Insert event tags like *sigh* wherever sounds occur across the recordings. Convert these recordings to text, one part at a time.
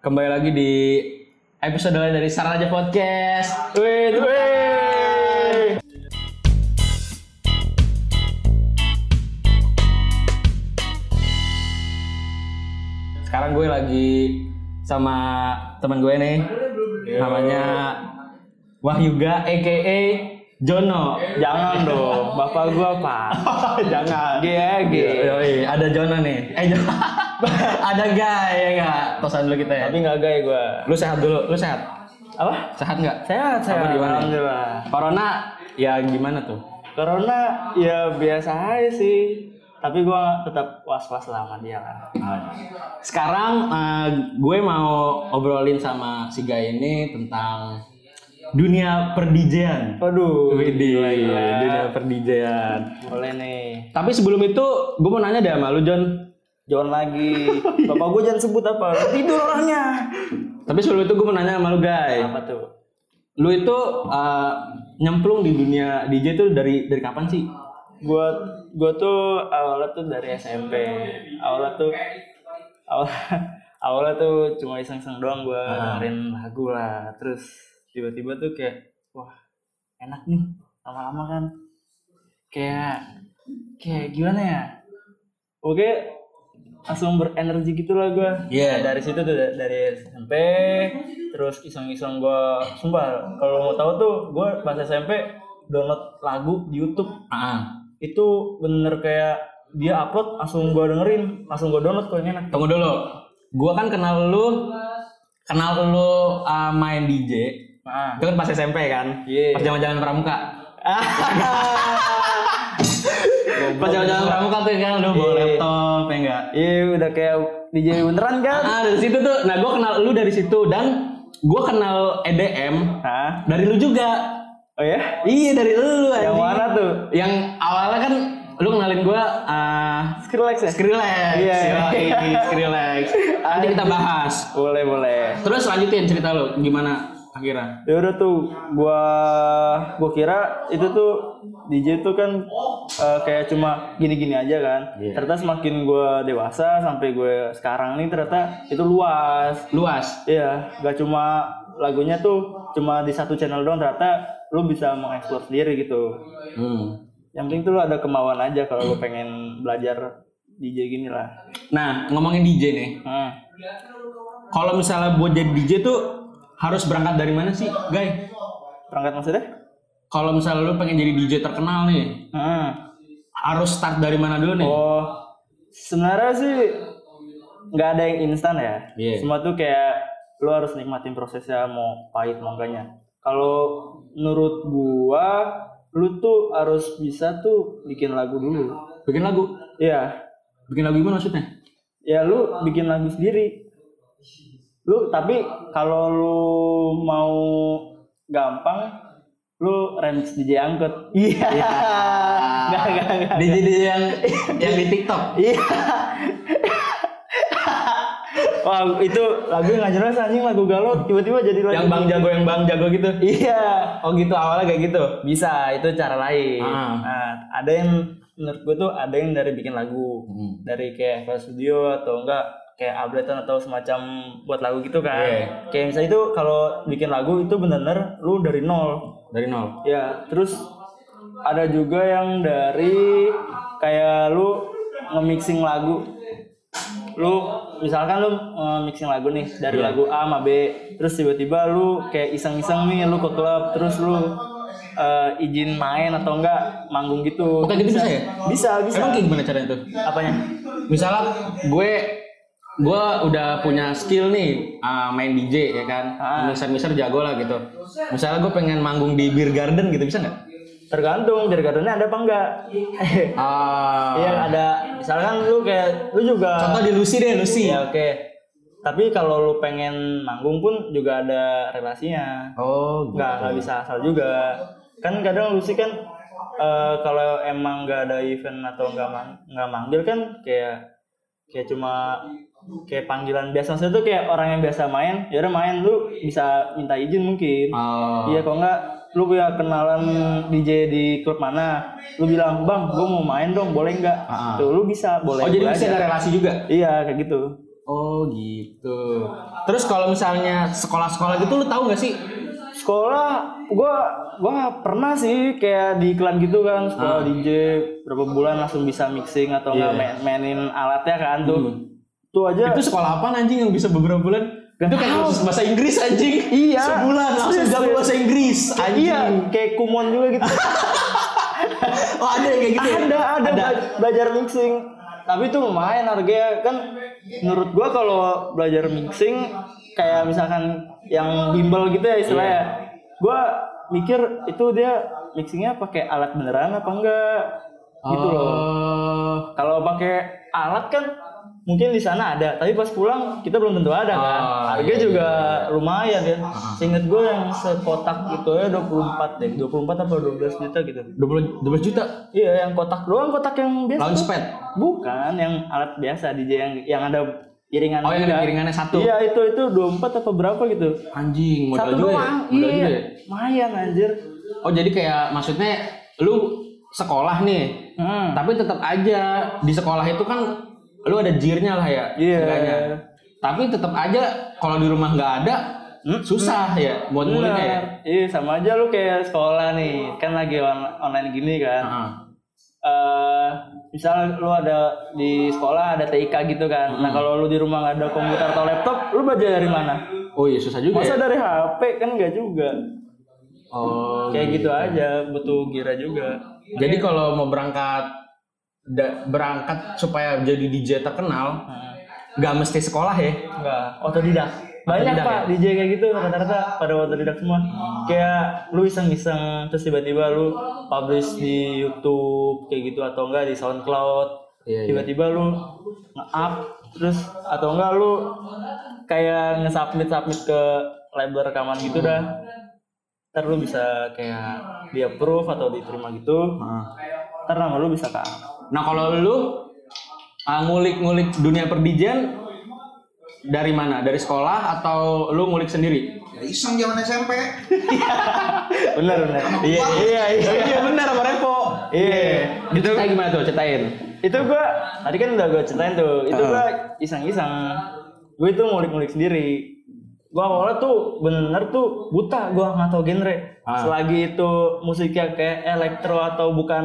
Kembali lagi di episode lain dari Sarang aja Podcast. Wih, wih. Sekarang gue lagi sama teman gue nih. Namanya Wahyuga aka Jono. Jangan dong, bapak gua apa? GG. Jangan. ya, gitu. Yoi, ada Jono nih. Eh, Jono. *laughs* ada Guy ya enggak? Kosan dulu kita ya. Tapi nggak gay gua. Lu sehat dulu, lu sehat. Apa? Sehat enggak? Sehat, Apa sehat. gimana? ya? Alhamdulillah. Corona ya gimana tuh? Corona ya biasa aja sih. Tapi gua tetap was-was lah sama dia lah. Sekarang eh, gue mau obrolin sama si Guy ini tentang dunia perdijean. Waduh. gila, gila. dunia perdijean. Boleh nih. Tapi sebelum itu, gue mau nanya deh sama lu, John. Jangan lagi. Bapak gua jangan sebut apa. Tidur orangnya. Tapi sebelum itu gue mau nanya sama lu, Guy. Apa tuh? Lu itu eh, nyemplung di dunia DJ itu dari dari kapan sih? Gua gua tuh awalnya tuh dari SMP. Awalnya tuh awalnya *laughs* awalnya tuh cuma iseng-iseng doang gua dengerin lagu lah. Terus tiba-tiba tuh kayak wah, enak nih lama-lama kan. Kayak kayak gimana ya? Oke, langsung berenergi gitu lah gua. Iya. Dari situ tuh da- dari SMP terus iseng-iseng gua sumpah kalau mau tahu tuh gua pas SMP download lagu di YouTube Ah, itu bener kayak dia upload langsung gua dengerin langsung gua download kalau yang enak tunggu dulu. Gua kan kenal lu kenal lu uh, main DJ. *laughs* nah Itu kan pas SMP kan? Iya. Pas zaman-zaman pramuka. Pas zaman-zaman pramuka tuh kan lu bawa Iya. laptop ya enggak? iya udah kayak DJ beneran kan Ah, dari situ tuh. Nah, gua kenal lu dari situ dan gua kenal EDM Hah? dari lu juga. oh ya Iya, dari lu yang anjing. mana tuh Yang awalnya kan lu kenalin gua ah, Skrillex ya Skrillex. Iya. Yoi, Skrillex. Nanti kita bahas. boleh boleh Terus lanjutin cerita lu gimana akhirnya? ya udah tuh gua gua kira itu tuh DJ tuh kan eh, kayak cuma gini-gini aja kan Iya. ternyata semakin gua dewasa sampai gue sekarang nih ternyata itu luas Luas. Iya, gak cuma lagunya tuh cuma di satu channel doang ternyata lu bisa mengeksplor sendiri gitu. Hmm. Yang penting tuh lu ada kemauan aja kalau lu pengen belajar DJ gini lah. Nah, ngomongin DJ nih. Hmm. Kalau misalnya buat jadi DJ tuh harus berangkat dari mana sih, Guy? Perangkat maksudnya? Kalau misalnya lu pengen jadi DJ terkenal nih, Hmm. harus start dari mana dulu nih? Oh, sebenarnya sih nggak ada yang instan ya. Iya. Semua tuh kayak lu harus nikmatin prosesnya mau pahit mau enggaknya. Kalau menurut gua, lu tuh harus bisa tuh bikin lagu dulu. Bikin lagu. Iya. Bikin lagu gimana maksudnya? ya lu bikin lagu sendiri lu tapi kalau lu mau gampang lu remix DJ angkut iya nggak nggak nggak DJ DJ yang yang di TikTok. iya wah itu lagu nggak jelas anjing lagu galau tiba-tiba jadi lagu Yang Bang Jago yang Bang Jago gitu. iya Oh gitu awalnya kayak gitu. bisa itu cara lain Ah. nah ada yang menurut gue tuh ada yang dari bikin lagu dari kayak file studio atau enggak kayak ableton atau semacam buat lagu gitu kan Iya. kayak misalnya itu kalau bikin lagu itu bener-bener lu dari nol Dari nol. ya terus ada juga yang dari kayak lu nge-mixing lagu lu misalkan lu nge-mixing lagu nih dari Iya. lagu A sama B terus tiba-tiba lu kayak iseng-iseng nih lu ke klub terus lu eh, izin main atau enggak manggung gitu Oh, kayak gitu bisa ya? bisa bisa Emang kayak gimana caranya tuh? apanya misalnya gue gue udah punya skill nih ah, main DJ ya kan Ah. mixer mixer jago lah gitu misalnya gue pengen manggung di beer garden gitu bisa nggak tergantung dari gardennya ada apa enggak Ah, yang ada misalkan lu kayak lu juga contoh di Lucy deh Lucy ya oke tapi kalau lu pengen manggung pun juga ada relasinya oh nggak nggak bisa asal juga kan kadang lu sih kan eh, kalau emang nggak ada event atau nggak mang- nggak manggil kan kayak kayak cuma kayak panggilan biasa maksudnya tuh kayak orang yang biasa main ya udah main lu bisa minta izin mungkin Oh. Iya, kalau enggak lu punya kenalan DJ di klub mana, lu bilang, "Bang, gua mau main dong, boleh enggak?" Ah. Tuh, lu bisa, boleh. oh jadi boleh bisa aja. ada relasi juga Iya, kayak gitu. Oh gitu. Terus kalau misalnya sekolah-sekolah gitu lu tahu nggak sih? sekolah gua gua nggak pernah sih kayak di iklan gitu kan sekolah DJ berapa bulan langsung bisa mixing atau Ah. Iya. nggak Hmm. main- mainin alatnya kan tuh tuh aja Itu sekolah apa anjing yang bisa beberapa bulan? itu kayak kursus bahasa Inggris anjing. Iya. Sebulan langsung Serius, jago serius. bahasa Inggris anjing. iya kayak kumon juga gitu Oh ada yang kayak gitu. ya? ada ada, bela- belajar mixing tapi itu lumayan harganya kan menurut gua kalau belajar mixing kayak misalkan yang bimbel gitu ya Iya. istilahnya gua mikir itu dia mixingnya pakai alat beneran apa enggak gitu loh Oh. kalau pakai alat kan mungkin di sana ada tapi pas pulang kita belum tentu ada kan Ah, harga iya, Ah, juga lumayan ya seinget gue yang sekotak itu ya 24 deh 24 atau 12 juta gitu 20 12 juta iya yang kotak doang kotak yang biasa tuh. launchpad. bukan yang alat biasa DJ yang yang ada iringan Oh yang ada juga. piringannya satu. iya itu itu 24 apa berapa gitu Anjing modal satu juga ya. doang Modal iya juga ya. lumayan anjir Oh jadi kayak maksudnya lu sekolah nih, hmm. tapi tetap aja di sekolah itu kan lu ada jirnya lah ya, Iya. seenggaknya. Tapi tetap aja kalau di rumah nggak ada, Hmm. susah ya buat nguliknya ya. Benar. Iya sama aja lu kayak sekolah nih kan lagi on- online gini kan Heeh. eh misal lu ada di sekolah ada TIK gitu kan. Hmm. Nah, kalau lu di rumah nggak ada komputer atau laptop, lu belajar dari mana? Oh iya susah juga Masa ya. dari HP kan nggak juga. Oh, Kayak gitu aja, butuh gira juga. Jadi kalau mau berangkat da- berangkat supaya jadi DJ terkenal, nggak mesti sekolah ya. Enggak, otodidak. Banyak Otodidak, Pak DJ kayak gitu rata-rata pada otodidak semua. Kayak lu iseng-iseng terus tiba-tiba lu publish di YouTube kayak gitu atau enggak di SoundCloud. Iya, iya. tiba-tiba lu nge-up terus atau enggak lu kayak nge-submit submit ke label rekaman gitu dah ntar lu bisa kayak di approve atau diterima gitu Heeh. ntar nama lu bisa ke Nah kalau lu ah, ngulik-ngulik dunia perdijian dari mana? Dari sekolah atau lu ngulik sendiri? Ya iseng zaman SMP. bener bener iya iya iya Iya benar sama Repo. iya Gitu. Ceritain gimana tuh? Ceritain. itu gua tadi kan udah gua ceritain tuh itu gua iseng-iseng gua itu ngulik-ngulik sendiri gua awalnya tuh bener tuh buta gua nggak tahu genre Ah. selagi itu musiknya kayak elektro atau bukan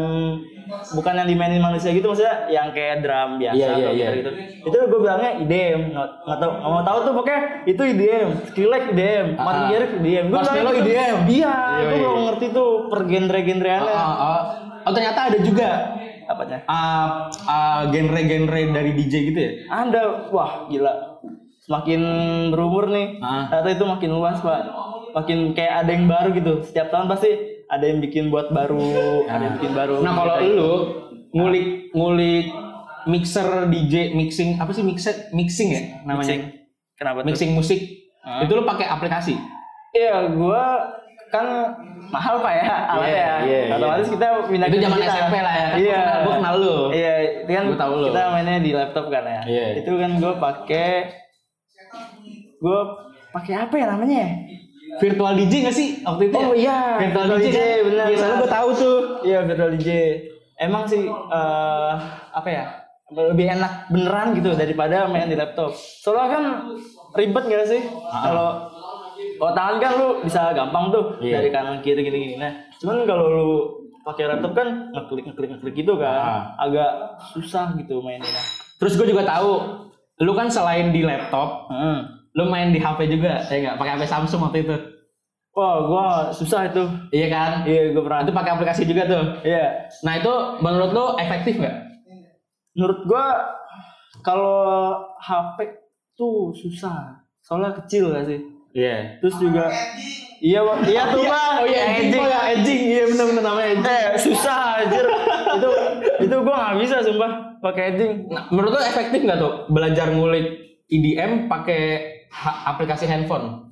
bukan yang dimainin manusia gitu maksudnya yang kayak drum biasa Iya, iya, atau iya. gitu itu gua bilangnya IDM nggak nggak tahu nggak mau tahu tuh pokoknya itu IDM Skrillex IDM Ah, Martin ah. Garrix IDM gua Marshmello bilangnya gitu. IDM. iya Iya, gua iya. belum ngerti tuh per genre-genreannya Oh, oh. Oh, ternyata ada juga apanya ah, ah, genre-genre dari DJ gitu ya? Anda, wah gila. Semakin berumur nih, Ah. ternyata itu makin luas pak. Makin kayak ada yang baru gitu. Setiap tahun pasti ada yang bikin buat baru, ada yang bikin baru. Nah kalau Gitu. lu ngulik ngulik mixer DJ mixing apa sih mixer mixing Ah. ya namanya? Mixing. kenapa? tuh? Mixing musik. Itu lu pakai aplikasi. Iya, gua kan mahal pak ya alatnya. iya, iya. Otomatis kita pindah Itu ke zaman digital. SMP lah ya. Kan Iya. gua kenal- gua kenal lu. Iya, itu kan Gua tahu lu. kita mainnya di laptop kan ya. Iya. Itu kan gua pakai gua pakai apa ya namanya? ya? Virtual DJ gak sih waktu itu? ya? Oh iya, Virtual, virtual DJ, DJ, kan? benar, Iya, soalnya benar. gue tahu tuh. Iya virtual DJ. Emang sih eh apa ya? Lebih enak beneran gitu daripada main di laptop. Soalnya kan ribet gak sih? Ah. Kalau kalau tangan kan lu bisa gampang tuh Iya. dari kanan kiri gini gini. Nah, cuman kalau lu pakai laptop kan ngeklik ngeklik ngeklik gitu kan, Ah. agak susah gitu mainnya. Terus gue juga tahu, lu kan selain di laptop, Heeh. lu main di HP juga, ya nggak? Pakai HP Samsung waktu itu, Wah, gua susah itu. iya kan? Iya, gua pernah. Itu pakai aplikasi juga tuh. Iya. Nah itu menurut lu efektif nggak? menurut gua kalau HP tuh susah soalnya kecil gak sih Iya. terus juga iya Bang. iya tuh bang Oh iya, edging, Anjing. Bang, ya, edging, iya benar-benar namanya edging. eh susah anjir itu itu gua nggak bisa sumpah pakai edging Nah, menurut lu efektif nggak tuh belajar ngulik EDM pakai ha- aplikasi handphone?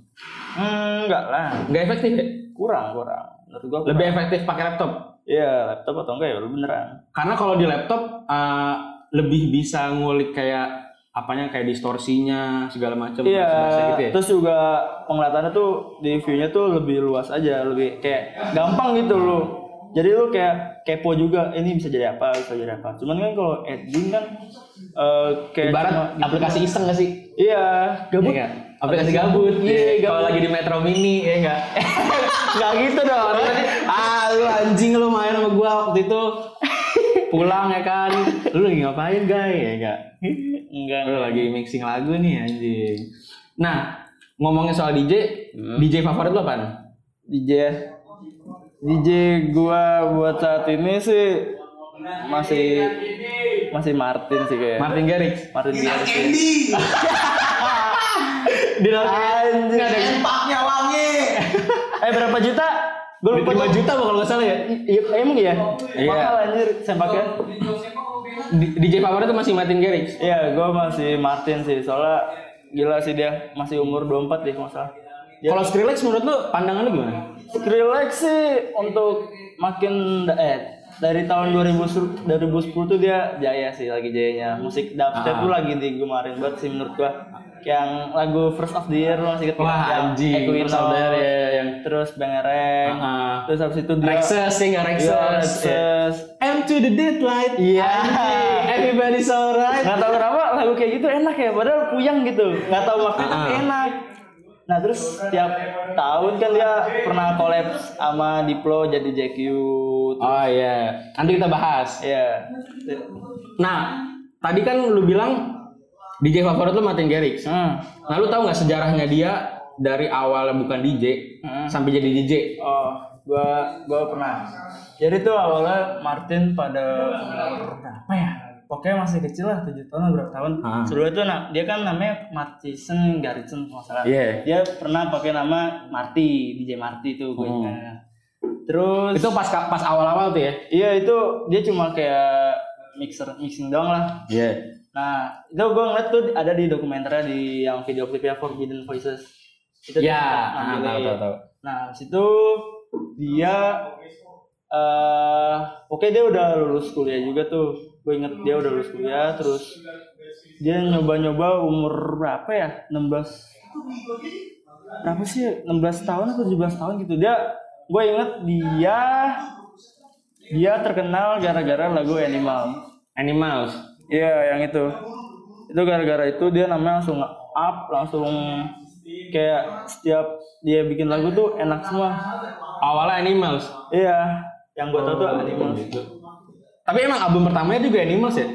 hmm, enggak lah Nggak efektif ya? kurang kurang menurut gua kurang. Lebih efektif pakai laptop. iya laptop atau enggak ya lu beneran karena kalau di laptop eh, lebih bisa ngulik kayak apanya kayak distorsinya segala macam Iya, bahasa-bahasa gitu ya. terus juga pengelihatannya tuh di view-nya tuh lebih luas aja, lebih kayak gampang gitu lu. Jadi lu kayak kepo juga, ini bisa jadi apa, bisa jadi apa. Cuman kan kalau editing kan eh kayak Ibarat cuma- aplikasi iseng gak sih? Iya. Gabut? Aplikasi gabut. Iya, Iya, kalau lagi di Metro Mini, ya *laughs* enggak. Gak gitu dong. ah, lu anjing lu main sama gua waktu *laughs* itu. Pulang ya kan. Lu lagi ngapain, guys? Ya enggak. Enggak. Lu lagi mixing lagu nih, anjing. Nah, ngomongin soal DJ, DJ favorit lu apaan? DJ DJ gua buat saat ini sih masih masih Martin sih kayak Martin Garrix. Martin Garrix ya. Candy. Di dalam Anjing. Empaknya wangi. eh berapa juta gue lupa 5 juta kalau nggak salah ya. iya emang iya Iya. mahal anjir sempaknya Di- DJ favorit tuh masih Martin Garrix. iya gua masih Martin sih soalnya gila sih dia masih umur 24 deh kalau nggak salah Ya, Kalau Skrillex menurut lu pandangan lu gimana? Skrillex sih untuk makin eh dari tahun 2000 2010 tuh dia jaya sih lagi jayanya musik dubstep Ah. tuh lagi digemarin banget sih menurut gua yang lagu first of the year lu masih ketika Wah, yang anjing, Equinox, First of the Year, ya, yang- terus Bangerang Ah. terus habis itu dia Rexes ya nggak Iya, Rexes. Rexes. M to the deadline. Ya. Iya. Everybody's alright. nggak tahu kenapa lagu kayak gitu enak ya padahal puyang gitu nggak tahu waktu tapi Ah. enak nah terus tiap tahun kan dia pernah collab sama Diplo jadi JQ Oh iya. Nanti kita bahas. ya Nah, tadi kan lu bilang DJ favorit lu Martin Garrix. hmm. Nah, lu tahu nggak sejarahnya dia dari awalnya bukan DJ Hmm. sampai jadi DJ? oh gua gua pernah jadi tuh awalnya Martin pada umur berapa ya pokoknya masih kecil lah tujuh tahun atau berapa tahun Ah. sebelumnya tuh nah dia kan namanya Martison Garrison kalau nggak salah Iya. dia pernah pakai nama Marty DJ Marty itu gue Hmm. ingat terus Itu pas pas awal-awal tuh ya. Iya itu dia cuma kayak mixer mixing doang lah. Iya. Nah itu gue ngeliat tuh ada di dokumenternya di yang video klipnya Forbidden Voices. Itu dia Iya, sempat ah, nampilin. tahu tahu tahu. Nah abis itu dia eh oke dia udah lulus kuliah juga tuh. Gue inget dia udah lulus kuliah terus dia nyoba-nyoba umur berapa ya? 16 berapa sih 16 tahun atau 17 tahun gitu dia gue inget dia dia terkenal gara-gara lagu Animal Animals. iya yang itu itu gara-gara itu dia namanya langsung up langsung kayak setiap dia bikin lagu tuh enak semua Awalnya Animals. iya yang gue tau tuh Oh, Animal Tapi emang album pertamanya juga Animals ya?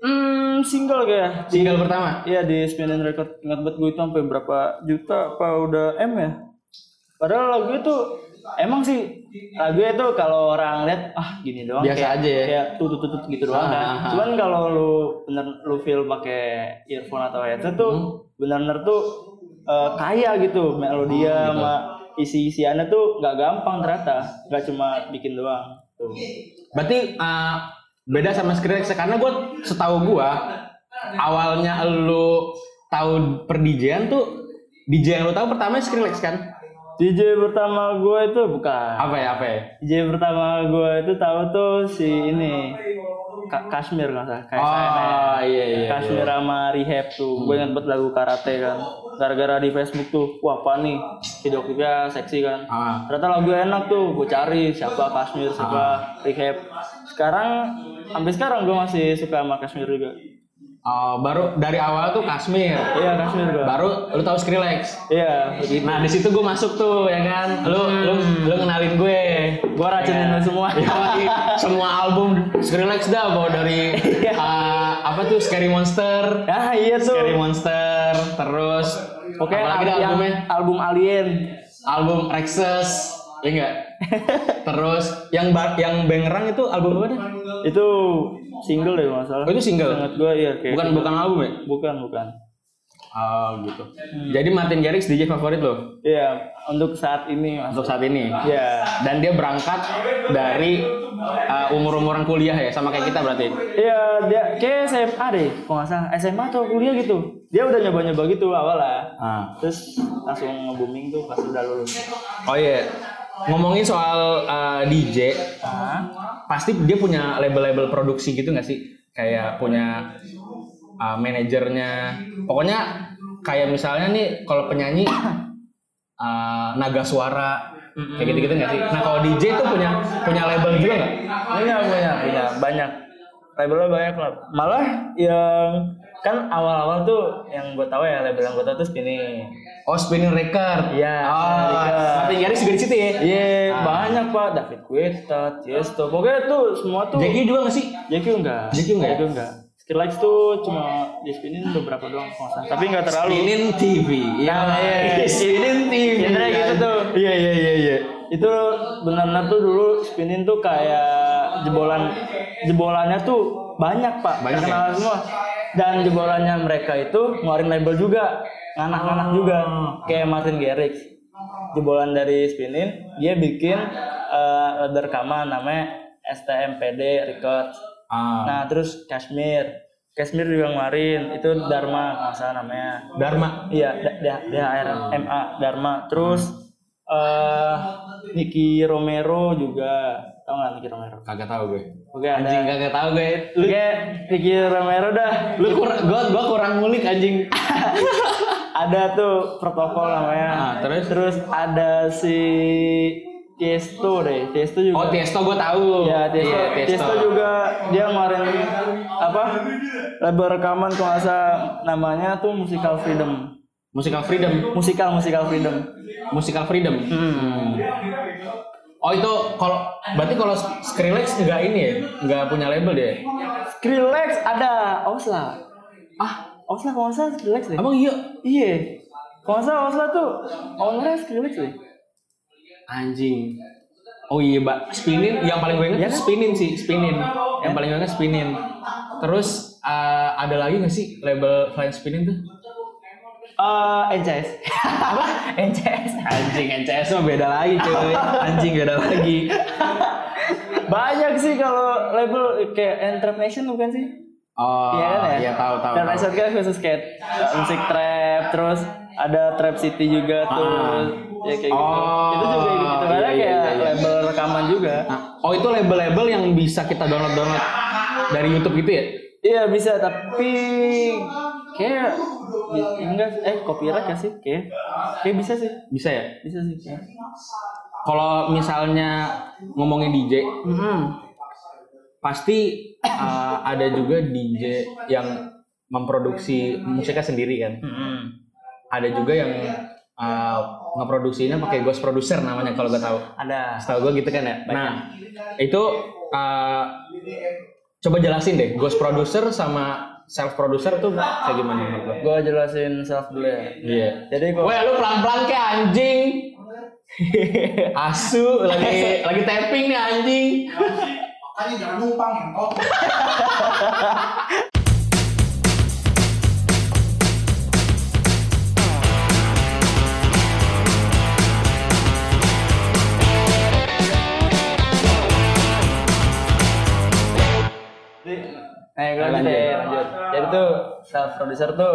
hmm single kayak Single pertama. Iya di Spinning Record ingat banget gue itu sampai berapa juta apa udah M ya. Padahal lagu itu emang sih lagu itu kalau orang lihat ah gini doang Biasa kayak, aja ya. kayak tutut tutut gitu doang kan. Ah, ah, ah. Cuman kalau lu bener lu feel pakai earphone atau headset tuh Hmm. bener-bener tuh eh, kaya gitu Hmm, melodia sama isi-isiannya tuh nggak gampang ternyata nggak cuma bikin doang tuh. Berarti uh, beda sama Skrillex karena gue setahu gue awalnya lu tahu per DJ-an tuh DJ yang lu tahu pertama Skrillex kan? DJ pertama gue itu bukan Apa ya apa ya? DJ pertama gue itu tahu tuh si ini Ka Kashmir nggak salah kayak Oh iya iya. Hmm. Kashmir sama Rehab tuh gue inget banget lagu karate kan gara-gara di Facebook tuh wah apa nih video klipnya seksi kan Ah. ternyata lagu enak tuh gue cari siapa Kashmir siapa Ah. Rehab sekarang sampai sekarang gue masih suka sama Kashmir juga Oh, baru dari awal tuh Kashmir. iya Kashmir gue Baru lu tahu Skrillex. iya Nah, di situ gue masuk tuh ya kan. Lu lu lu kenalin gue. gue racunin Iya. lu semua Yoi, semua album Skrillex dah bawa dari uh, apa tuh Scary Monster, *laughs* ah iya Scary tuh Monster, terus Oke, apalagi dah yang- albumnya album Alien. album Rexes, ya enggak? terus yang ba- yang Bangerang itu album apa dah? Itu single deh kalau nggak salah. Oh, itu single? Sangat gua iya kayak Bukan bukan album ya? bukan bukan. Oh gitu. Jadi Martin Garrix DJ favorit lo Iya, untuk saat ini Mas. untuk saat ini. Iya. Dan dia berangkat dari uh, umur-umuran kuliah ya, sama kayak kita berarti. Iya, dia kayak SMA deh, kalau nggak salah. SMA atau kuliah gitu. Dia udah nyoba-nyoba gitu awalnya. Ah. Terus langsung nge-booming tuh pas udah lulus. Oh iya. Ngomongin soal uh, DJ, Nah, pasti dia punya label-label produksi gitu nggak sih? Kayak punya uh, manajernya. Pokoknya kayak misalnya nih kalau penyanyi uh, naga suara kayak gitu-gitu nggak sih? Nah kalau DJ tuh punya punya label juga nggak? Iya, punya, punya, punya. Banyak. Labelnya banyak lah. Malah yang kan awal-awal tuh yang gue tahu ya label yang gue tahu tuh spinning Oh, spinning record. Iya, Oh, spinning record. Martin Garrix juga di situ ya. Iya, banyak pak David Guetta, Tiesto, pokoknya tuh semua tuh Jackie juga nggak sih? Jackie enggak, Jackie enggak ya? Jackie enggak. Skill Likes tuh cuma di spinin beberapa doang kalau nggak salah. tapi enggak terlalu. Spinning TV. Iya, iya. Spinning TV. Genre gitu tuh. Iya, iya, iya, iya. Itu benar-benar tuh dulu spinin tuh kayak jebolan jebolannya tuh banyak pak, Banyak ya? terkenal semua. Dan jebolannya mereka itu ngeluarin label juga, nganak-nganak juga, kayak Martin Garrix. Jebolan dari spinin, dia bikin eh, label rekaman namanya STMPD Records. Ah, Nah terus Kashmir, Kashmir juga kemarin itu Dharma kalau nggak salah namanya. Dharma. Iya, D- D- Hmm. DHRMA Dharma. Terus eh Niki Romero juga, tau nggak Niki Romero? Kagak tahu gue. Oke Anjing ada. kagak tahu gue. Oke Niki Romero dah. Lu kur gua gua kurang ngulik anjing. Ada tuh protokol namanya. Ah, terus? terus ada si Tiesto deh, Tiesto Oh, juga. Tiesto gue tahu. Ya, Tiesto, Iya, Tiesto juga dia kemarin apa label rekaman kalau nggak salah namanya tuh Musical Freedom. Musical Freedom. Musikal Musical Freedom. Musical Freedom. Hmm. Oh itu kalau berarti kalau Skrillex nggak ini ya, nggak punya label deh. Skrillex ada Osla. Ah, Osla kalau nggak salah Skrillex deh. Emang iya? Iya. Kalau nggak salah Osla tuh ownernya Skrillex deh. Anjing. Oh iya, Mbak. Spinin yang paling gue Ya inget kan? tuh spinin sih, spinin. Yang paling gue inget spinin. Terus eh, ada lagi nggak sih label selain spinin tuh? Eh, NCS. Apa? NCS. Anjing NCS mah beda lagi *laughs* cuy. Anjing beda lagi. *laughs* Banyak sih kalau label kayak Entrap Nation bukan sih? Oh, Iya kan ya? iya tahu tahu. Trap tahu. Nation kan khusus kayak eh, musik trap, terus ada Trap City juga tuh. Ah. Ya kayak Oh, gitu. Itu juga gitu. Karena iya, iya, kayak iya, iya. label rekaman juga. Nah, oh itu label-label yang bisa kita download-download dari YouTube gitu ya? Iya bisa tapi kayak di- enggak eh copyright gak sih kayak kayak bisa sih Bisa ya? bisa sih Iya. kayak. Kalau misalnya ngomongin DJ, Hmm. pasti uh, ada juga DJ yang memproduksi musiknya sendiri kan. Ada juga yang uh, ngeproduksinya pakai ghost producer namanya kalau gue tahu. Ada. Setahu gue gitu kan ya. Nah, itu uh, coba jelasin deh ghost producer sama self producer tuh kayak gimana menurut lo? Gua jelasin self dulu ya. Iya. Jadi gua Weh lu pelan-pelan kayak anjing. *laughs* Asu lagi lagi tapping nih anjing. Makanya jangan numpang entok. Nah, gue lanjut, Lanjut. ya, lanjut. Jadi tuh self producer tuh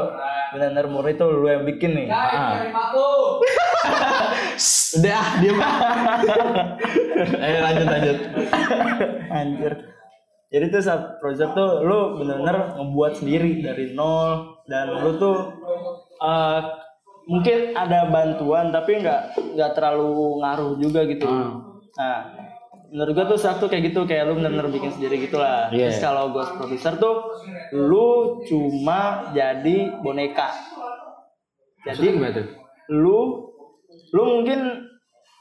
benar-benar murid tuh lu yang bikin nih. Ah. *laughs* Udah, ah, diam. *laughs* eh lanjut lanjut. Anjir. Jadi tuh self producer tuh lu bener-bener ngebuat sendiri dari nol dan lu tuh eh, mungkin ada bantuan tapi nggak nggak terlalu ngaruh juga gitu. Nah, menurut gua tuh self tuh kayak gitu kayak lu bener-bener bikin sendiri gitulah. Iya. Terus kalau ghost producer tuh lu cuma jadi boneka. Jadi gimana tuh? lu lu mungkin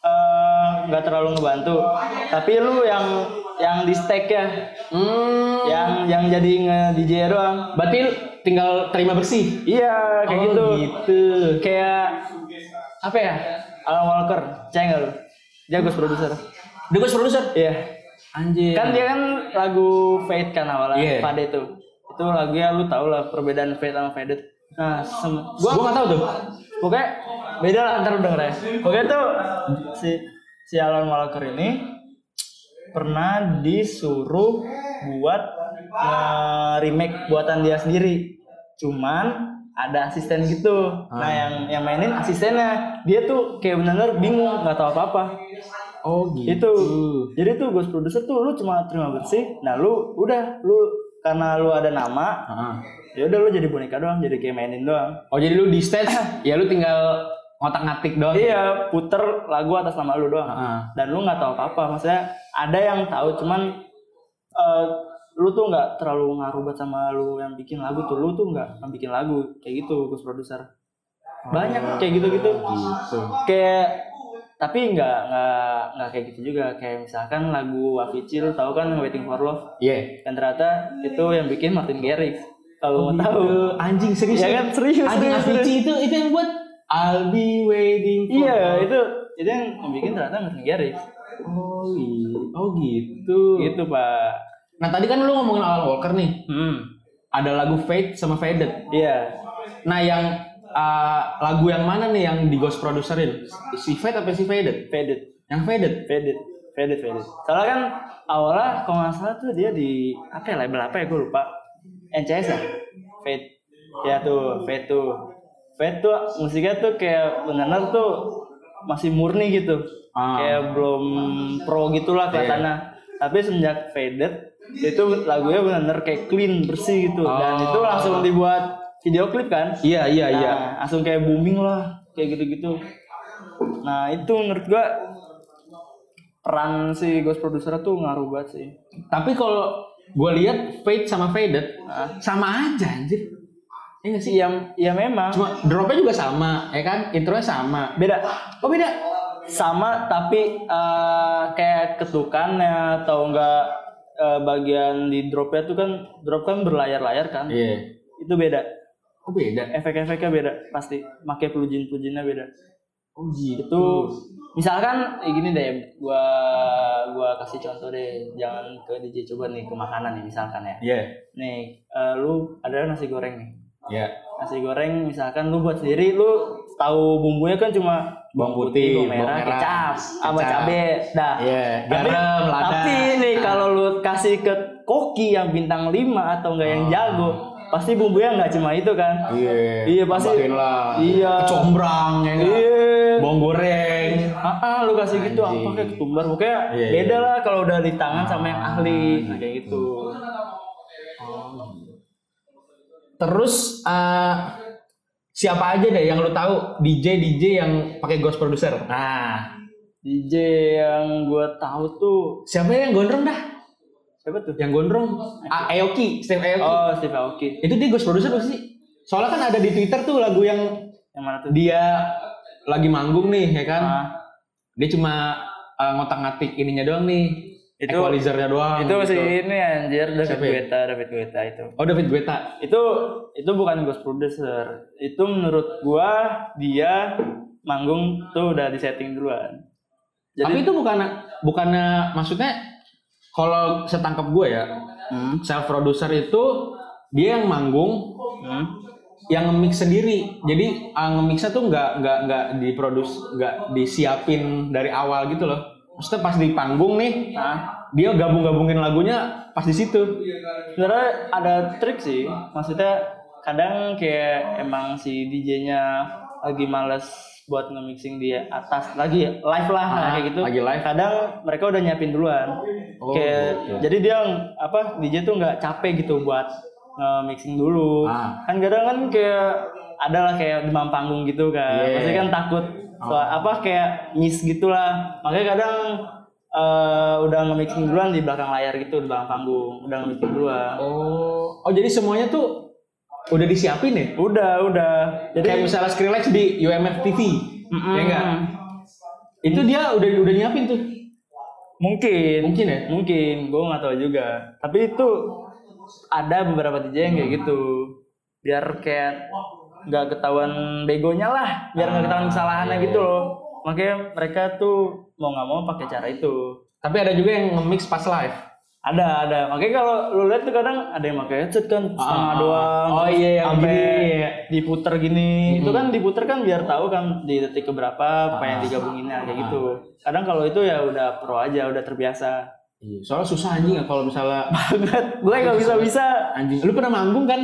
eh, nggak terlalu ngebantu tapi lu yang yang di stake ya Hmm, yang yang jadi nge DJ doang berarti lu tinggal terima bersih. iya kayak Oh, gitu kayak apa ya Alan Walker ceng nggak lu dia Gus produser The ghost producer. iya Anjir. kan dia kan lagu Fade kan awalnya Iya. Fade itu itu lagunya lu tau lah perbedaan Fade sama Faded nah sem- gua enggak tahu tuh. Pokoknya beda lah ntar lu denger ya. Pokoknya tuh si si Alan Walker ini pernah disuruh buat eh, remake buatan dia sendiri. Cuman ada asisten gitu. Nah yang yang mainin asistennya dia tuh kayak bener-bener bingung nggak tahu apa-apa Oh itu jadi tuh ghost producer tuh lu cuma terima bersih nah lu udah lu karena lu ada nama ya udah lu jadi boneka doang jadi kayak mainin doang Oh jadi lu di stage, ya lu tinggal ngotak-ngatik doang. Iya, puter lagu atas nama lu doang. Ah. Dan lu nggak tahu apa-apa. Maksudnya ada yang tahu cuman eh, lu tuh nggak terlalu ngaruh banget sama lu yang bikin lagu tuh lu tuh nggak yang bikin lagu kayak gitu Gus produser banyak kayak gitu-gitu gitu. kayak tapi nggak nggak nggak kayak gitu juga kayak misalkan lagu Avicii lu tahu kan Waiting for Love Iya. dan ternyata itu yang bikin Martin Garrix kalau mau tahu anjing Oh, gitu. serius. ya kan serius Anjing serius, serius. Avicii itu itu yang buat I'll be waiting for iya itu itu yang bikin ternyata Martin Garrix Oh, iya. oh gitu. gitu pak Nah, tadi kan lu ngomongin Alan Walker nih. hmm Ada lagu Fade sama Faded. iya Nah, yang uh, lagu yang mana nih yang di Ghost produserin? Si Fade apa si Faded? faded Yang Faded. faded faded faded soalnya kan awalnya kalau nggak salah tuh dia di apa ya label apa ya gue lupa NCS ya fade ya tuh fade tuh fade tuh musiknya tuh kayak benar tuh masih murni gitu Ah. kayak belum pro gitulah kelihatannya tapi semenjak faded itu lagunya benar-benar kayak clean bersih gitu dan Oh. itu langsung dibuat video klip kan Iya, iya, Nah, iya. langsung kayak booming lah, kayak gitu-gitu. Nah, itu menurut gua peran si ghost producer tuh ngaruh banget sih. Tapi kalau gue lihat Fade sama Faded Ah. sama aja anjir. Iya nggak sih? Sih ya, ya memang Cuma dropnya juga sama, ya kan? Intronya sama. beda Oh beda. sama tapi eh, kayak ketukannya atau enggak eh, bagian di dropnya tuh kan drop kan berlayar-layar kan. Iya. Itu beda. Oh beda. Efek-efeknya beda pasti. Pakai plugin-pluginnya beda. Oh gitu. itu misalkan eh, gini deh gua gua kasih contoh deh jangan ke DJ coba nih ke makanan nih misalkan ya Iya. nih eh, lu ada nasi goreng nih Iya. nasi goreng misalkan lu buat sendiri lu tahu bumbunya kan cuma Bawang putih, bawang merah, bawang merah, kecap sama kecap. cabe dah Iya. Tapi- Garam, lada. tapi nih Ah. kalau lu kasih ke koki yang bintang 5 atau enggak yang Ah. jago pasti bumbunya nggak cuma itu kan Iya. Iya, pasti. Tambahin lah. Iya. Kecombrang ya nggak? iya Bawang goreng. Ah, ah, lu kasih gitu Anjing. apa kayak ketumbar pokoknya Iya, beda iya. lah kalau udah di tangan sama yang Ah, ahli gitu. kayak gitu. Terus eh, siapa aja deh yang lu tahu DJ DJ yang pakai ghost producer? Nah, DJ yang gua tahu tuh siapa yang gondrong dah? siapa tuh? Yang gondrong? A- Aoki, Steve Aoki. Oh, Steve Aoki. Itu dia ghost producer bukan sih? Soalnya kan ada di Twitter tuh lagu yang Yang mana tuh? dia lagi manggung nih ya kan. Ah, Dia cuma eh, ngotak-ngatik ininya doang nih. Itu- equalizernya doang. itu gitu. sih ini anjir David Siapa ya? Guetta, David Guetta itu. Oh David Guetta. Itu itu bukan ghost producer. Itu menurut gua dia manggung tuh udah disetting duluan. Tapi Jadi itu bukan bukannya maksudnya kalau setangkap gue ya, Hmm, self producer itu dia yang manggung, hmm. yang nge-mix sendiri. Jadi ah, nge-mixnya tuh nggak nggak nggak diproduks, nggak disiapin dari awal gitu loh. Maksudnya pas di panggung nih, Ah. dia gabung-gabungin lagunya pas di situ. sebenarnya ada trik sih maksudnya kadang kayak emang si DJ-nya lagi males buat nge-mixing di atas lagi live lah Ah, kayak gitu lagi live. kadang mereka udah nyiapin duluan Oh, kayak gitu. jadi dia apa DJ tuh nggak capek gitu buat nge-mixing dulu Ah. kan kadang kan kayak adalah kayak demam panggung gitu kan Iya. pasti kan takut Oh. soal apa kayak miss gitulah makanya kadang eh, udah nge-mixing duluan di belakang layar gitu di belakang panggung udah nge-mixing duluan Oh, oh jadi semuanya tuh udah disiapin ya? Udah, udah. Jadi Kayak misalnya Skrillex di UMF TV, Mm-mm. ya enggak? Itu dia udah udah nyiapin tuh. mungkin, Mungkin ya? mungkin, gue nggak tahu juga. Tapi itu ada beberapa DJ yang kayak gitu, biar kayak nggak ketahuan begonya lah, biar nggak Ah, ketahuan kesalahannya iya, gitu loh. Makanya mereka tuh mau nggak mau pakai cara itu. Tapi ada juga yang nge-mix pas live. Ada, ada. Makanya kalau lu lihat tuh kadang ada yang pakai headset kan setengah Ah. doang. Oh terus iya, yang sampai gini, iya. diputer gini. Itu kan diputer kan biar tahu kan di detik keberapa Ah, apa yang digabunginnya kayak gitu. Kadang kalau itu ya udah pro aja, udah terbiasa. Iya, soalnya susah anjing ya kalau misalnya Banget. Gue nggak bisa-bisa. anjing. Lu pernah manggung kan?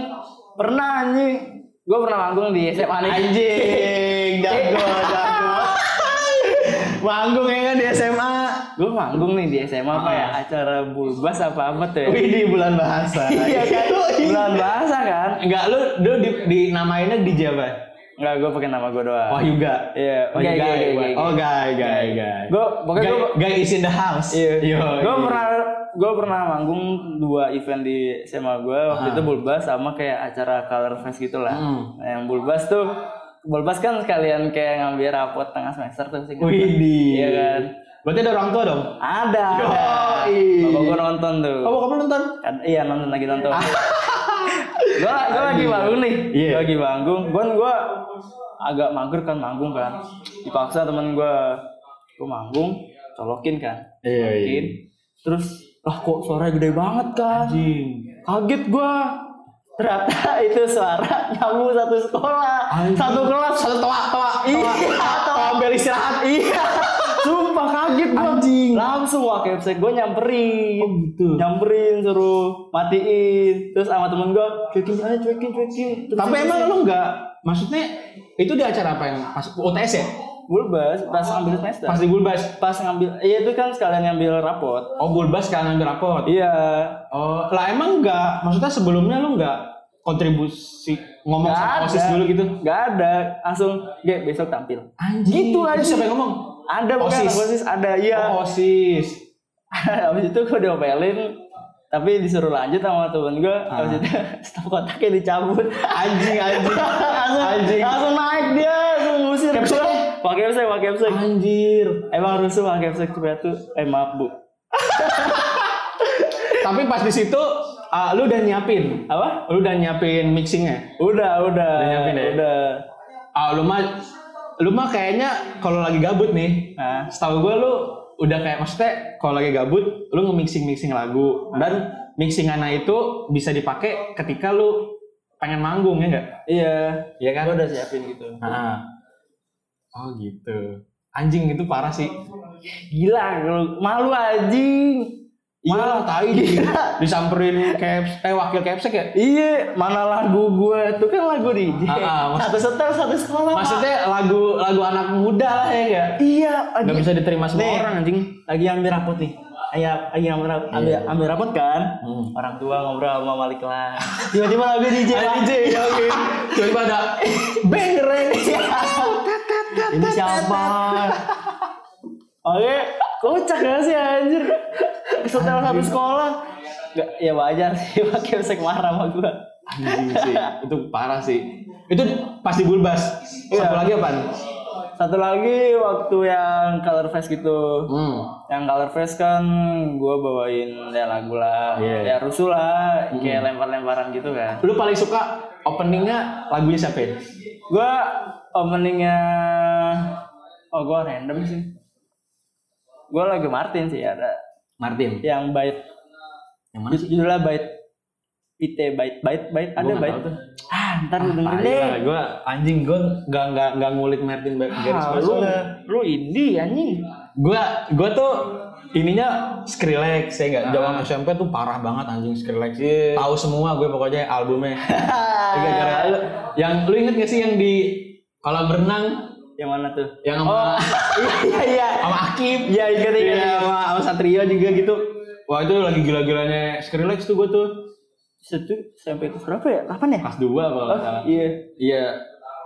Pernah anjing. Gue pernah manggung di SMA nih. *laughs* Anjing, jago, jago. manggung ya kan di SMA. Gue manggung nih di SMA apa ya? Acara bulbas apa apa tuh ya? Ah. Wih, di bulan bahasa. *laughs* Iya kan? Bulan bahasa kan? Enggak, lu lu di, di namainnya DJ apa? Enggak, gue pakai nama gue doang. Wah, Yuga. Iya, Oh, Gai, Yuga. Gai, Yuga. Gai, Gai. Oh, guy, guy, guy. Gue pokoknya gue guy, guy is in the house. Iya. Yo, gue iya. pernah gue pernah manggung dua event di SMA gue waktu itu Bulbas sama kayak acara Color Fest gitu lah. Nah, yang Bulbas tuh Bulbas kan sekalian kayak ngambil rapot tengah semester tuh sih. Iya kan. Berarti ada orang tua dong? Ada. ada. Yoi. Bapak gue nonton tuh. Oh, kamu nonton? Kan- iya nonton lagi nonton. *laughs* gua gua lagi manggung nih. Ah. Iya. Gua lagi manggung. Gua gua agak mager kan manggung kan. Dipaksa temen gua gua manggung, colokin kan. Iya, Colokin. Terus lah kok suaranya gede banget kan. Kaget gua. Ternyata *laughs* itu suara nyambung satu sekolah, satu kelas, satu toa, toa, iya, toa ambil istirahat, iya. Sumpah kaget gua. Langsung wakil saya gua nyamperin. Oh, gitu. Nyamperin suruh matiin. Terus sama temen gua cuekin aja cuekin cuekin. Terus Tapi terus- emang lu nggak, maksudnya itu di acara apa yang pas UTS ya? Bulbas pas ngambil semester. Oh. Pas di Bulbas. pas ngambil iya itu kan sekalian ngambil rapot. Oh, Bulbas kan ngambil rapor. Iya. Oh, lah emang nggak, maksudnya sebelumnya lu nggak kontribusi ngomong Nggak sama ada. OSIS dulu gitu? Gak ada langsung Gek besok tampil. Anjing. Gitu aja siapa yang ngomong? Ada bukan OSIS. OSIS ada iya. *laughs* Oh, OSIS. Habis itu gue diomelin tapi disuruh lanjut sama temen gue habis itu *laughs* stop kontaknya dicabut Ah. *laughs* Anjing, anjing. langsung, Anjing. langsung naik dia langsung ngusir Capsule? *laughs* gue pak kepsek pak kepsek Anjir. emang rusuh pak kepsek coba tuh eh maaf bu Tapi pas di situ ah, lu udah nyiapin. apa Lu udah nyiapin mixingnya? udah udah Udah nyiapin ya? udah Ah, lu mah lu mah kayaknya kalau lagi gabut nih. nah Setahu gua lu udah kayak maksudnya kalau lagi gabut lu nge-mixing-mixing lagu dan mixingannya itu bisa dipakai ketika lu pengen manggung ya enggak? iya Iya kan? gue udah siapin gitu Ah. Oh gitu. Anjing itu parah sih. gila lu malu anjing Iya. Malah Iya tai di- disamperin caps eh wakil capsek ya? iya mana lagu gue itu kan lagu Ah, DJ ah, maksud- satu setel satu sekolah Pak. Maksudnya lagu lagu anak muda lah ya enggak? iya Enggak anjing. bisa diterima semua Nih. orang anjing. Iya. lagi ambil rapot nih Ayah, lagi ambil, rap- ambil, ambil rapot kan Hmm. orang tua ngobrol sama wali kelas *laughs* tiba-tiba lagu DJ lah. DJ ya oke. Tiba-tiba ada bang eh. reng. ini siapa oke kocak gak sih anjir setelah habis sekolah Gak, ya wajar sih *laughs* pakai sek marah sama gua Anjing Iya, sih, itu parah sih. Itu pasti bulbas. Satu Iya. lagi apaan? satu lagi waktu yang color fest gitu Hmm. yang color fest kan gua bawain ya lagu lah Iya. Hmm. ya rusuh lah kayak lempar-lemparan gitu kan Lu paling suka openingnya lagunya siapa? ya? gua openingnya oh gua random sih gua lagu Martin sih ada Martin. yang bait Yang mana Ju- judulnya bait IT bait bait bait ada nggak bait tahu tuh. ah ntar lu dengerin deh Ayolah, gua anjing gua nggak nggak nggak ngulik Martin ba- garis ah, bawah lu soalnya. lu indie anjing Gua gua tuh ininya Skrillex ya Ah. enggak zaman SMP tuh parah banget anjing Skrillex. Iya. Tahu semua gue pokoknya albumnya. Gara-gara Ah. lu. Yang lu inget gak sih yang di kolam renang yang mana tuh yang sama iya iya sama Akib iya ingat ingat Iya, ingat. sama, sama Satria juga gitu. Wah itu lagi gila-gilanya Skrillex tuh gue tuh satu sampai ke berapa ya delapan ya kelas 2 kalau oh, nggak salah. iya Iya,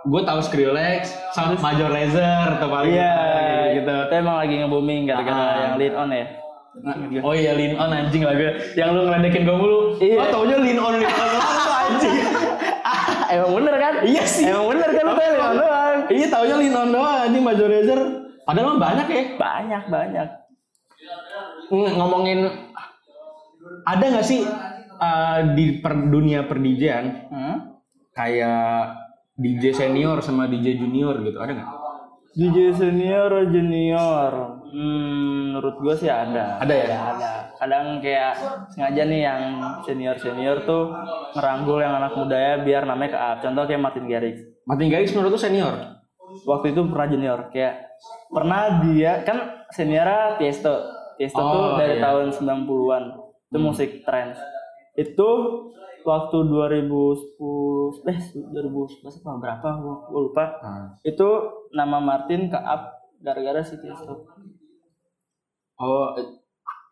gue tahu Skrillex, sama Major Lazer atau paling iya gitu. gitu itu emang lagi nge-booming gara-gara Ah. yang lead on ya Oh iya Lean On anjing lagu yang lu ngeledekin gue mulu. Iya. Oh taunya Lean On Lean On doang tuh, anjing. Ah, *laughs* emang bener kan? Iya sih. Emang bener kan lu Tapi tanya emang- Leon doang. *laughs* iya taunya Lean On doang anjing Major Lazer. Padahal mah banyak ya. Banyak banyak. Ng- Hmm, ngomongin ada nggak sih eh, di per, dunia per DJ-an Hmm? kayak DJ senior sama DJ junior gitu ada nggak? DJ senior junior. Hmm, menurut gua sih ada. Ada ya? Ada. Kadang kayak sengaja nih yang senior senior tuh ngeranggul yang anak muda ya biar namanya ke up. Contoh kayak Martin Garrix. Martin Garrix menurut tuh senior. Waktu itu pernah junior kayak pernah dia kan seniornya Tiesto. Tiesto Oh, tuh iya. dari Hmm. tahun 90-an. Itu musik trance. Itu waktu 2010 eh 2011 apa berapa gua gua lupa. Ah. itu nama Martin ke up gara-gara si Tiesto. Oh eh,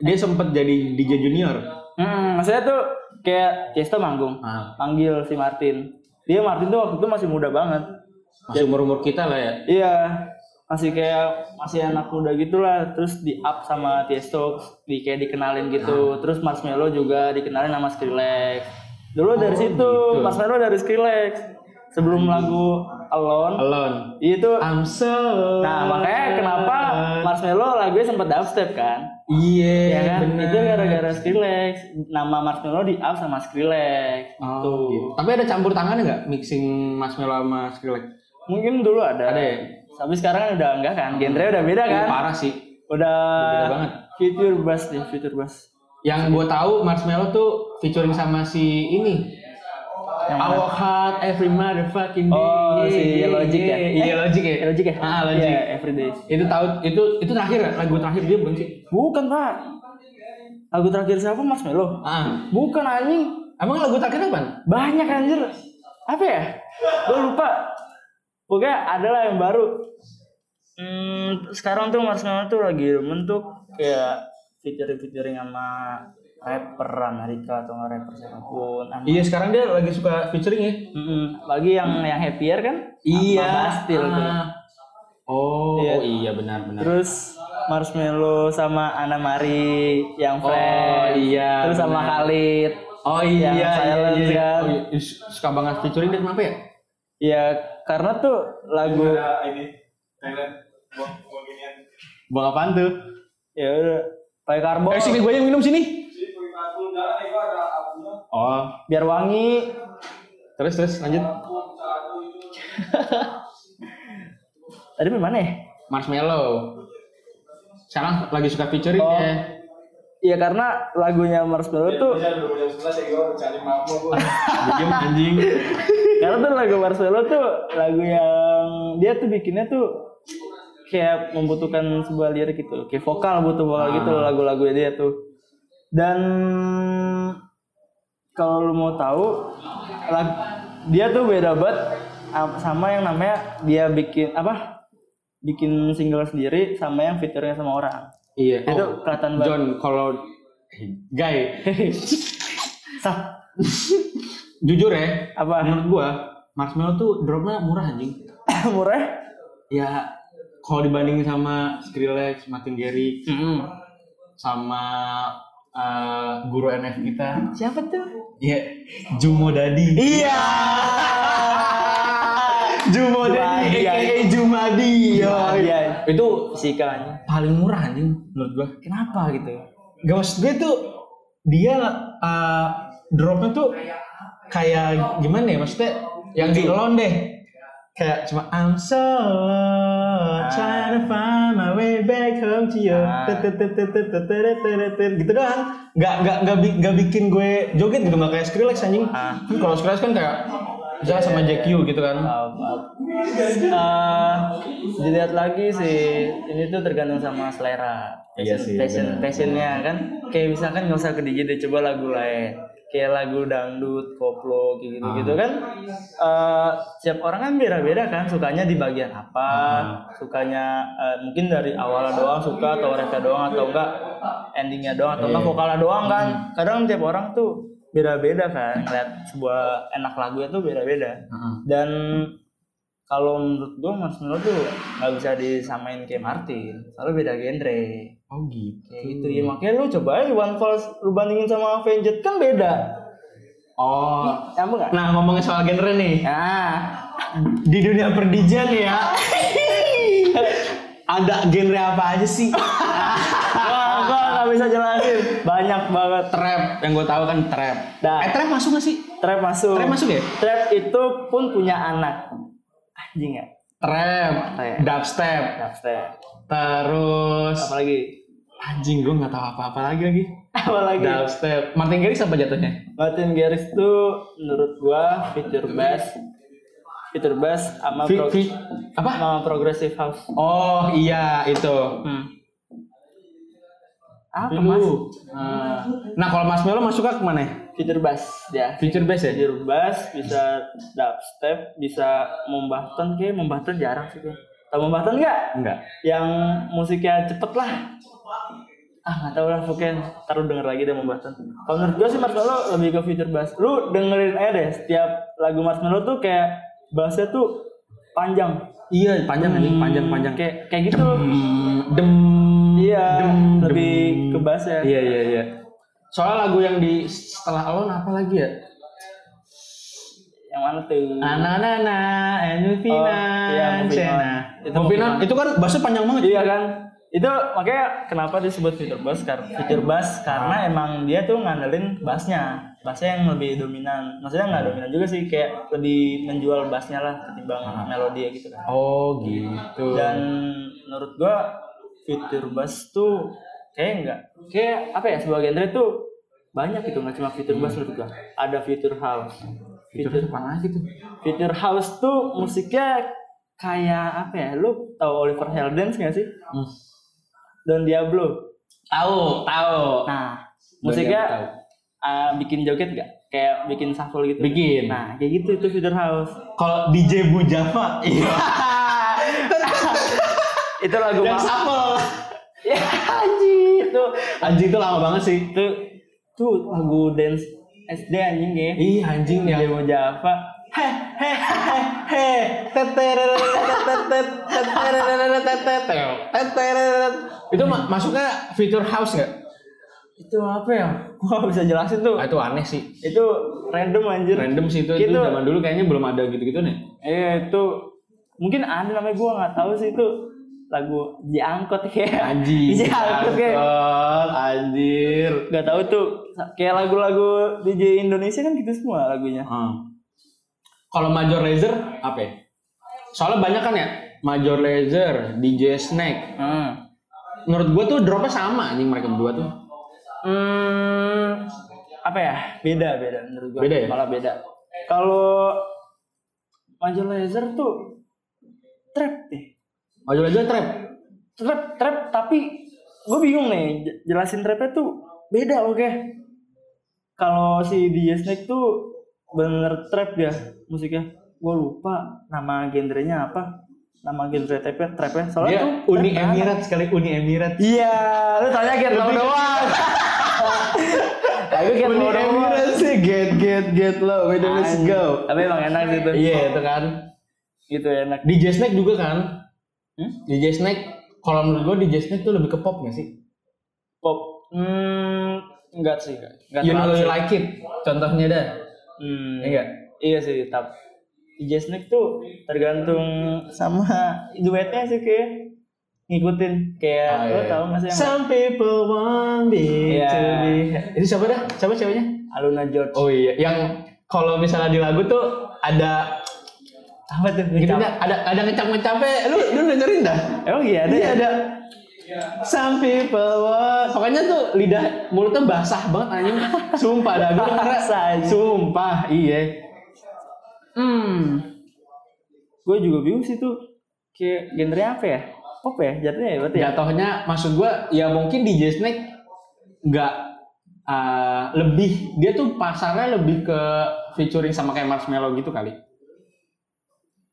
dia sempet jadi DJ junior. Hmm, maksudnya tuh kayak Tiesto manggung, Ah, panggil si Martin. Dia Martin tuh waktu itu masih muda banget. masih umur umur kita lah ya. Iya, masih kayak masih anak muda gitulah terus di up sama Tiesto di kayak dikenalin gitu terus Marshmello juga dikenalin sama Skrillex dulu Oh, dari situ gitu. Marshmello dari Skrillex sebelum lagu Alone Alone. itu I'm so. nah makanya kenapa Marshmello lagunya sempet dubstep kan Iya, ya kan bener. itu gara-gara Skrillex nama Marshmello di up sama Skrillex Oh, gitu. gitu. Tapi ada campur tangannya nggak mixing Mas Melo sama Skrillex? mungkin dulu ada Ada ya? tapi sekarang udah enggak kan genre udah beda kan Ih, Parah sih. udah Beda banget. Future Bass nih, Future Bass. Yang gue tahu Marshmello tuh featuring sama si ini. Yang I work hard every motherfucking day. Oh, si Logic ya? Iya, Eh, Logic ya. Eh, Logic ya? Ah, Logic. Iya, Everyday. Itu tahu itu itu terakhir kan? Lagu terakhir dia bukan sih? Bukan, Pak. Lagu terakhir siapa Mas Melo? Ah. Bukan anjing. Emang lagu terakhir apa? Banyak anjir. Apa ya? Gue lupa. Pokoknya ada lah yang baru. Hmm, sekarang tuh Mas Melo tuh lagi demen tuh kayak featuring-featuring sama rapper Amerika atau nggak rapper siapapun. Sama- Iya, sekarang dia lagi suka featuring ya. Mm-mm. Lagi yang yang happier kan? Bang Bastil tuh. Mm. Iya. ah. Oh, Iya. iya benar benar. Terus Marshmello sama Ana Mari yang Oh Friends. iya. Terus sama benar. Khalid. Oh iya, Yang iya, iya, Silence iya. kan. Oh, iya. Ih, suka banget featuring dia kenapa ya? Ya karena tuh lagu Ada ini Thailand buang buang ginian. Bang apaan tuh? ya udah pakai karbon Eh sini gue yang minum sini. Jadi punya aku udah itu ada abunya. Oh, biar wangi. terus terus lanjut. Tadi main mana ya? Marshmallow. Sekarang lagi suka featuring Oh. ya. Ya karena lagunya Marshmello tuh Iya, Bisa dua jam sebelas ya gue cari mama gue. Diem *laughs* anjing. karena tuh lagu Marshmello tuh lagu yang dia tuh bikinnya tuh kayak membutuhkan sebuah lirik gitu kayak vokal butuh vokal gitu loh lagu-lagu dia tuh dan kalau lu mau tahu lag- dia tuh beda banget am- sama yang namanya dia bikin apa bikin single sendiri sama yang fiturnya sama orang Iya. itu Oh, kelihatan banget John kalau eh, guy Sah. jujur ya apa *coughs* menurut gua marshmallow tuh dropnya murah anjing murah ya kalau dibandingin sama Skrillex, Martin Gary sama eh, guru NF kita siapa tuh ya Jumo Dadi iya Jumo Dadi Jumadi, aka Jumadi yoi. iya itu fisikanya paling murah anjing menurut gua kenapa gitu gak maksud gue tuh dia eh, dropnya tuh kayak gimana ya maksudnya yang di Elon deh kayak cuma I'm so lost, trying to find my way back home to you Ah. Tut, tut, tut, tut, tut, tut, tut, tut, tut. gitu doang nggak nggak nggak bi- nggak bikin gue joget gitu nggak kayak Skrillex anjing Ah. kan kalau Skrillex kan kayak Zah sama Jack U gitu kan Eh, dilihat lagi sih ini tuh tergantung sama selera Iya sih, passion passionnya kan kayak misalkan nggak usah ke DJ deh coba lagu lain kayak lagu dangdut koplo kayak gitu Ah. gitu kan Eh, setiap orang kan beda beda kan sukanya di bagian apa Ah. sukanya eh, mungkin dari awal doang suka atau refnya doang atau enggak endingnya doang Iya. atau enggak vokalnya doang kan Hmm. kadang tiap orang tuh beda beda kan ngeliat sebuah enak lagunya tuh beda beda Ah. dan kalau menurut gue Mas Milo tuh nggak bisa disamain kayak Martin soalnya beda genre oh gitu kayak gitu ya makanya lu coba aja One Falls lu bandingin sama Avenged kan beda oh sama nggak nah ngomongin soal genre nih nah di dunia perdijan ya ada genre apa aja sih *laughs* wah gua nggak bisa jelasin banyak banget trap yang gue tahu kan trap Nah. eh trap masuk gak sih trap masuk Trap masuk ya? trap itu pun punya anak anjing ya trap Trap. dubstep dubstep terus *laughs* apalagi anjing gue nggak tahu apa-apa lagi lagi apalagi dubstep Martin Garrix apa jatuhnya Martin Garrix tuh menurut gua feature bass feature bass sama Fi- pro- fi- apa sama progressive house oh iya itu Hmm. Apa mas? Lu. Nah, nah kalau Mas Melo masuknya kemana ya? Fitur bass ya. Feature bass ya? Fitur bass bisa dubstep, bisa membahton kayak membahton jarang sih kayak. Tahu membahton enggak? Enggak. Yang musiknya cepet lah. Ah nggak tahu lah pokoknya ntar lu denger lagi deh membahton. Kalau menurut gue sih Marshmallow lebih ke fitur bass. Lu dengerin aja deh setiap lagu Marshmallow tuh kayak bassnya tuh panjang. Iya, panjang anjing, panjang panjang. kayak kayak gitu loh. dem iya dem, lebih dem. ke bass ya Iya iya iya. Soalnya lagu yang di setelah alon apa lagi ya? yang mana tuh Ananana, Envina, Oh, iya, Moving Cena. On. Itu Moving Moving On, On. itu kan bassnya panjang banget. Iya kan? Itu makanya kenapa disebut fitur bass karena fitur bass karena emang dia tuh ngandelin bassnya, bassnya yang lebih dominan. Maksudnya nggak dominan juga sih, kayak lebih menjual bassnya lah ketimbang Ah. melodi ya gitu kan. Oh gitu. Dan menurut gua fitur bass tuh kayak nggak, kayak apa ya sebuah genre tuh banyak gitu nggak cuma fitur bass menurut gua. Ada fitur house, fitur apa lagi tuh? fitur house tuh musiknya kayak apa ya? Lu tau Oliver Heldens nggak sih? Hmm. Don Diablo. Tahu, tahu. Don Diablo Nah, tahu. musiknya uh, bikin joget gak? Kayak bikin shuffle gitu. Bikin. Nah, kayak gitu itu Feeder House. Kalau DJ Bu Java, iya. Itu *laughs* lagu yang mahal. shuffle. *laughs* Ya, anjir. Itu Anjing itu lama banget *laughs* sih. itu tuh lagu dance SD anjing kayak. Ih, anjing yang Demo Java. itu ma- masuknya fitur house nggak? Itu apa ya? Gua nggak bisa jelasin tuh. Ah, itu aneh sih. Itu random anjir. Random sih itu, itu Gitu. zaman dulu kayaknya belum ada ya? gitu-gitu nih. Iya, itu mungkin ada namanya gua nggak tahu sih itu lagu diangkut kayak Anjing. *laughs* diangkut kayak Angkot, anjir. nggak tahu tuh kayak lagu-lagu DJ Indonesia kan gitu semua lagunya Hmm. Kalau Major Lazer apa? ya? Soalnya banyak kan ya Major Lazer, DJ Snake. hmm. Menurut gua tuh dropnya sama anjing mereka berdua tuh. apa ya beda beda menurut gua Beda ya? malah beda kalau Major Lazer tuh trap deh Major Lazer trap. trap trap tapi gue bingung nih j- jelasin trapnya tuh beda oke kalau si DJ Snake tuh bener trap ya musiknya gue lupa nama genrenya apa nama genre trapnya trapnya soalnya Dia tuh trap Uni banget. Emirat sekali Uni Emirat. Iya, lu tanya Gat tau doang. *laughs* Tapi Gat Uni tau doang. Emirat sih get get get low. Oh, Wait, let's Anjing. go. Tapi emang enak gitu. Iya itu kan. Gitu enak. DJ Snake juga kan. Hmm? DJ Snake. Kalau menurut gua DJ Snake tuh lebih ke pop gak sih? Pop. Hmm, enggak sih. Enggak You know terlalu you sih. like it. Contohnya dah. Iya Hmm, nggak? Iya sih, tapi DJ Snake tuh tergantung sama duetnya sih kayak ngikutin kayak Ah, lo iya. tau gak sih yang Some people want me Iya. to be. Itu siapa dah? Siapa ceweknya? Aluna George Oh iya, yang kalau misalnya di lagu tuh ada apa tuh gitu Ngecap. dah, ada ada ngecap ngecape. Lu lu dengerin dah? emang iya ada Iya ya? ada. Some people want. Pokoknya tuh lidah mulutnya basah banget *laughs* anjing. Sumpah dah gue denger. Basah, anjing. Sumpah, iya. Hmm. Gue juga bingung sih tuh. Kayak genre apa ya? Pop ya? Jatuhnya ya berarti ya? Jatuhnya maksud gua ya mungkin DJ Snake nggak eh, lebih dia tuh pasarnya lebih ke featuring sama kayak Marshmello gitu kali.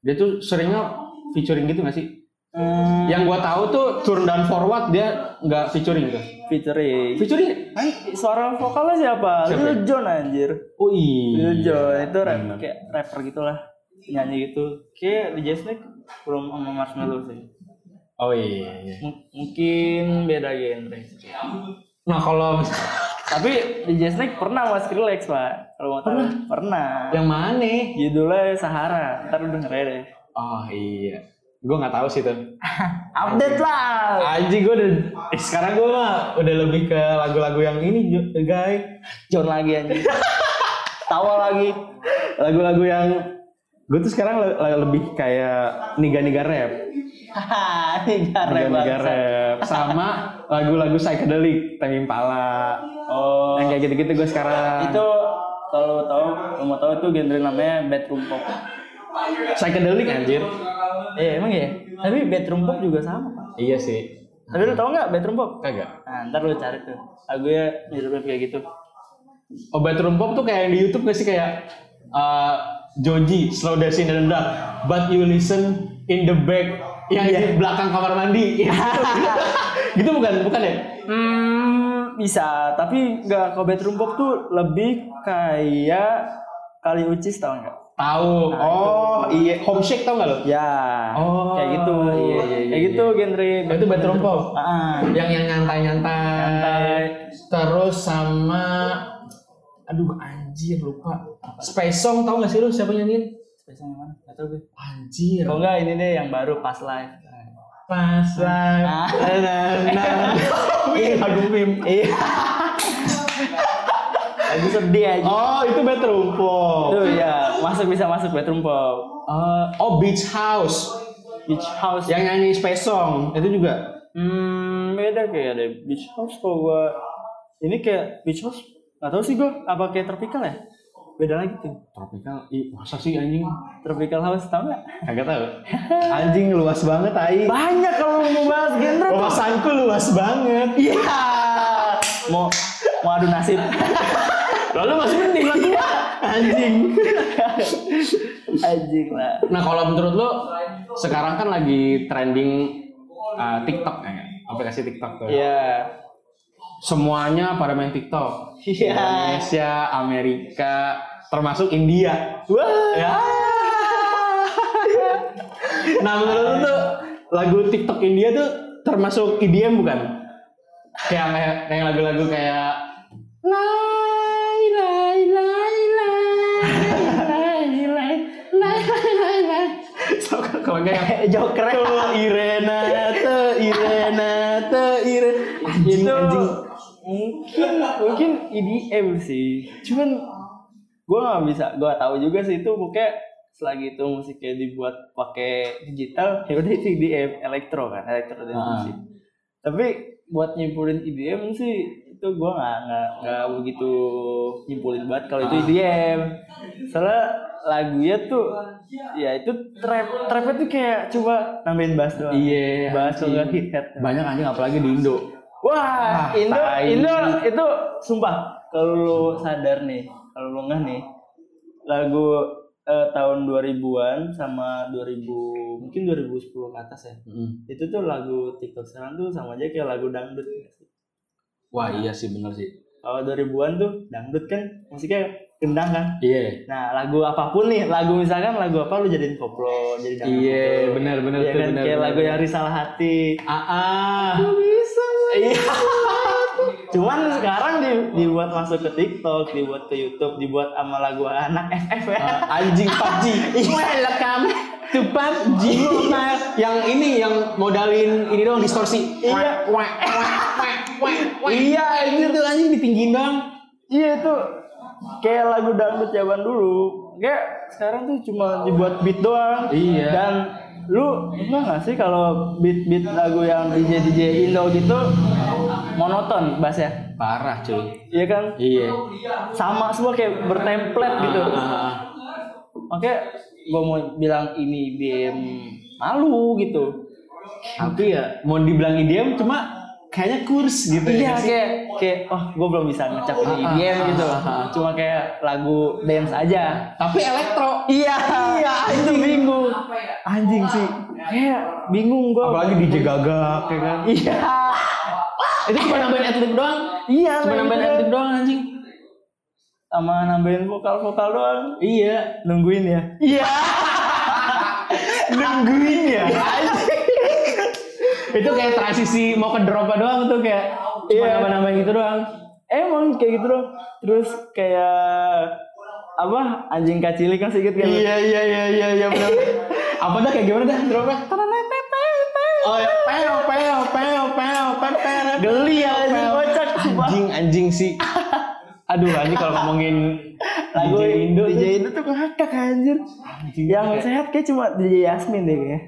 Dia tuh seringnya featuring gitu gak sih? Hmm, Yang gua tahu tuh turn down forward dia nggak featuring tuh. featuring. Featuring? Kan suara vokalnya siapa? Siapa? Lil Jon anjir. Oh Lil iya. Jon itu rap, kayak rapper gitulah. Nyanyi gitu. Kayak DJ Snake belum sama Marshmello sih. Oh iya. iya. M- mungkin beda genre. Nah kalau *laughs* Tapi DJ Snake pernah mas Skrillex pak. Kalau mau tahu. Pernah. yang mana? Judulnya Sahara. Ntar lu denger aja deh. Oh iya. Gua nggak tahu sih tuh. Update lah. Anjing gua udah. eh, sekarang gua mah udah lebih ke lagu-lagu yang ini guys. John lagi anjing. *laughs* Tawa lagi. Lagu-lagu yang gue tuh sekarang le- le- lebih kayak niga-niga rap, Hahaha, *laughs* niga rap. niga-niga bangsa. rap, sama lagu-lagu psychedelic, Tame Impala, Oh, yang kayak gitu-gitu gue sekarang. itu kalau tahu, kalau mau tahu itu genre namanya bedroom pop. psychedelic anjir. Eh, emang ya? Tapi bedroom pop juga sama, Pak. Iya sih. Tapi lu tau nggak bedroom pop? Kagak. Nah, ntar lu cari tuh. Lagunya mirip kayak gitu. Obat rumpop tuh kayak yang di YouTube gak sih kayak eh, Joji slow dancing in the dark, but you listen in the back yang di belakang kamar mandi. Iya, gitu. gitu bukan, bukan ya? Hmm, bisa. Tapi nggak kalau bedroom pop tuh lebih kayak kali ucis tau nggak? Tahu. Nah, oh, iya. Homesick tau nggak lo? Ya, Oh, kayak gitu. iya, iya, kayak iya, gitu genre. Ah, Oh, itu band trompong? Heeh. Yang yang nyantai-nyantai. Nyantai. Terus sama aduh anjir lupa. Space Song tau gak sih lu siapa nyanyiin? Spesial yang mana? Gak tau gue. Anjir. Kalau enggak ini nih yang baru pas live. Pas live. Nah, nah, nah. Ih, lagu Pim. Iya. Lagu sedih aja. Oh, itu band trompong. Tuh ya, masuk bisa masuk bedroom pop. Eh, oh, Beach House. Beach house. Yang nyanyi Space Song itu juga. Hmm, beda kayak ada beach house kalau gua ini kayak beach house nggak tahu sih gua apa kayak tropical ya beda lagi tuh Tropical. Ih, masa sih anjing? tropical house tau nggak Kagak tahu. Anjing luas banget ai. banyak kalau mau bahas genre tuh Wawasanku luas banget. iya mau mau adu *laughs* nasib Lalu masih mending lah gua. Anjing. anjing lah Nah, kalau menurut lo sekarang kan lagi trending uh, TikTok ya, nggak? aplikasi TikTok tuh. iya Semuanya pada main TikTok. Iya. Indonesia, Amerika, termasuk India. wah Ya. nah, menurut lo tuh lagu TikTok India tuh termasuk EDM bukan? Kayak kayak kayak lagu-lagu kayak Lai lai lai lai lai lai lai lai *laughs* lai. So, kalau nggak yang- joker Tuh Irena, tuh Irena, tuh Irena. Anjing, itu anjing. mungkin mungkin EDM sih cuman gue nggak bisa gue tahu juga sih itu pokoknya selagi itu musiknya dibuat pakai digital ya udah itu EDM elektro kan elektro dan Ah. musik tapi buat nyimpulin EDM sih itu gue nggak nggak nggak begitu nyimpulin banget kalau itu Ah. EDM soalnya lagunya tuh ya itu trap trapnya tuh kayak coba nambahin bass doang Iya, bass anjing. atau hit hat Banyak anjing apalagi di Indo. Ah, Wah, Indo, tai. Indo itu sumpah kalau lu sadar nih, kalau lu nggak nih lagu eh, tahun 2000-an sama 2000 mungkin 2010 ke atas ya. Itu tuh lagu TikTok sekarang tuh sama aja kayak lagu dangdut. Wah iya sih bener sih. Kalau 2000-an tuh dangdut kan musiknya gendang kan. Iya. Nah, lagu apapun nih, lagu misalkan lagu apa lu jadiin koplo, jadi dangdut. Iya, koplo. benar, benar Iya tuh, kan? benar, Kayak benar, lagu benar. yang risalah hati. Ah, Aa. bisa iya *laughs* cuman sekarang di- dibuat masuk ke TikTok dibuat ke YouTube dibuat sama lagu anak FF ya Ah, anjing PUBG. *laughs* Welcome to PUBG. yang ini yang modalin ini doang distorsi. Iya. Wah, wah, wah, wah, wah, wah. Iya, itu tuh anjing ditinggiin doang. iya itu kayak lagu dangdut zaman dulu kayak sekarang tuh cuma dibuat beat doang Iya. dan lu enggak nggak sih kalau beat beat lagu yang DJ DJ Indo gitu monoton bassnya Parah, cuy. iya kan Iya. sama semua kayak bertemplate Ah, gitu Oke, gue mau bilang ini BM malu gitu. Tapi ya mau dibilang idiom cuma kayaknya kurs gitu Iya ya. kayak kayak oh gue belum bisa ngecap Ah, ini ah, BM ah, gitu. ah, ah. Cuma kayak lagu dance aja. Tapi elektro. Iya, iya itu bingung. Anjing sih. Kayak bingung gue. Apalagi DJ gagak ya kan. Iya. Itu cuma nambahin adlib doang. Iya, Cuma kayak nambahin gitu. adlib doang anjing. sama nambahin vokal-vokal doang. Iya. Nungguin ya. Iya. Nungguin *laughs* ya. itu kayak transisi mau ke drop doang tuh kayak cuma Iya. nambah-nambahin gitu doang. Emang kayak gitu doang. Terus kayak apa anjing kacili kan sedikit kan iya iya iya iya benar. Apa dah kayak gimana dah dropnya? Oh ya, peo peo peo peo per per. Geli ya, anjing, Peo. kocak, sumpah. Anjing anjing sih. Aduh anjing kalau ngomongin lagu DJ Indo DJ tuh. Indo tuh ngakak anjir yang sehat kayak cuma DJ Yasmin deh kayaknya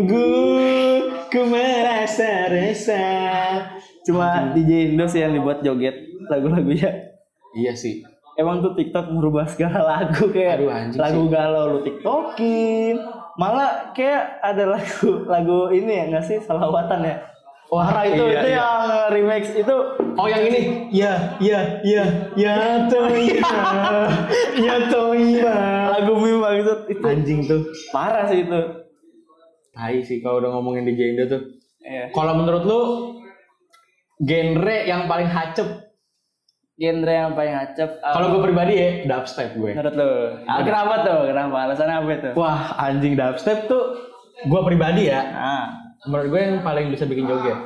Sungguh ku merasa resah. cuma DJ Indo sih yang dibuat joget lagu-lagunya Iya sih. emang tuh TikTok merubah segala lagu kayak Aduh, anjing lagu galau lu TikTokin malah kayak ada lagu lagu ini ya nggak sih salawatan ya Wah itu iya, itu iya. yang remix itu Oh yang ini. Ya ya ya ya toiba. ya toiba. lagu meme banget itu Anjing tuh. parah sih itu Tai sih kalau udah ngomongin DJ Indo tuh. Iya. Kalau menurut lu genre yang paling hacep genre yang paling acep apa? Kalau gue pribadi ya dubstep gue. menurut lo ah, kenapa tuh kenapa alasannya apa itu Wah anjing dubstep tuh gue pribadi ya. ah Menurut gue yang paling bisa bikin joget.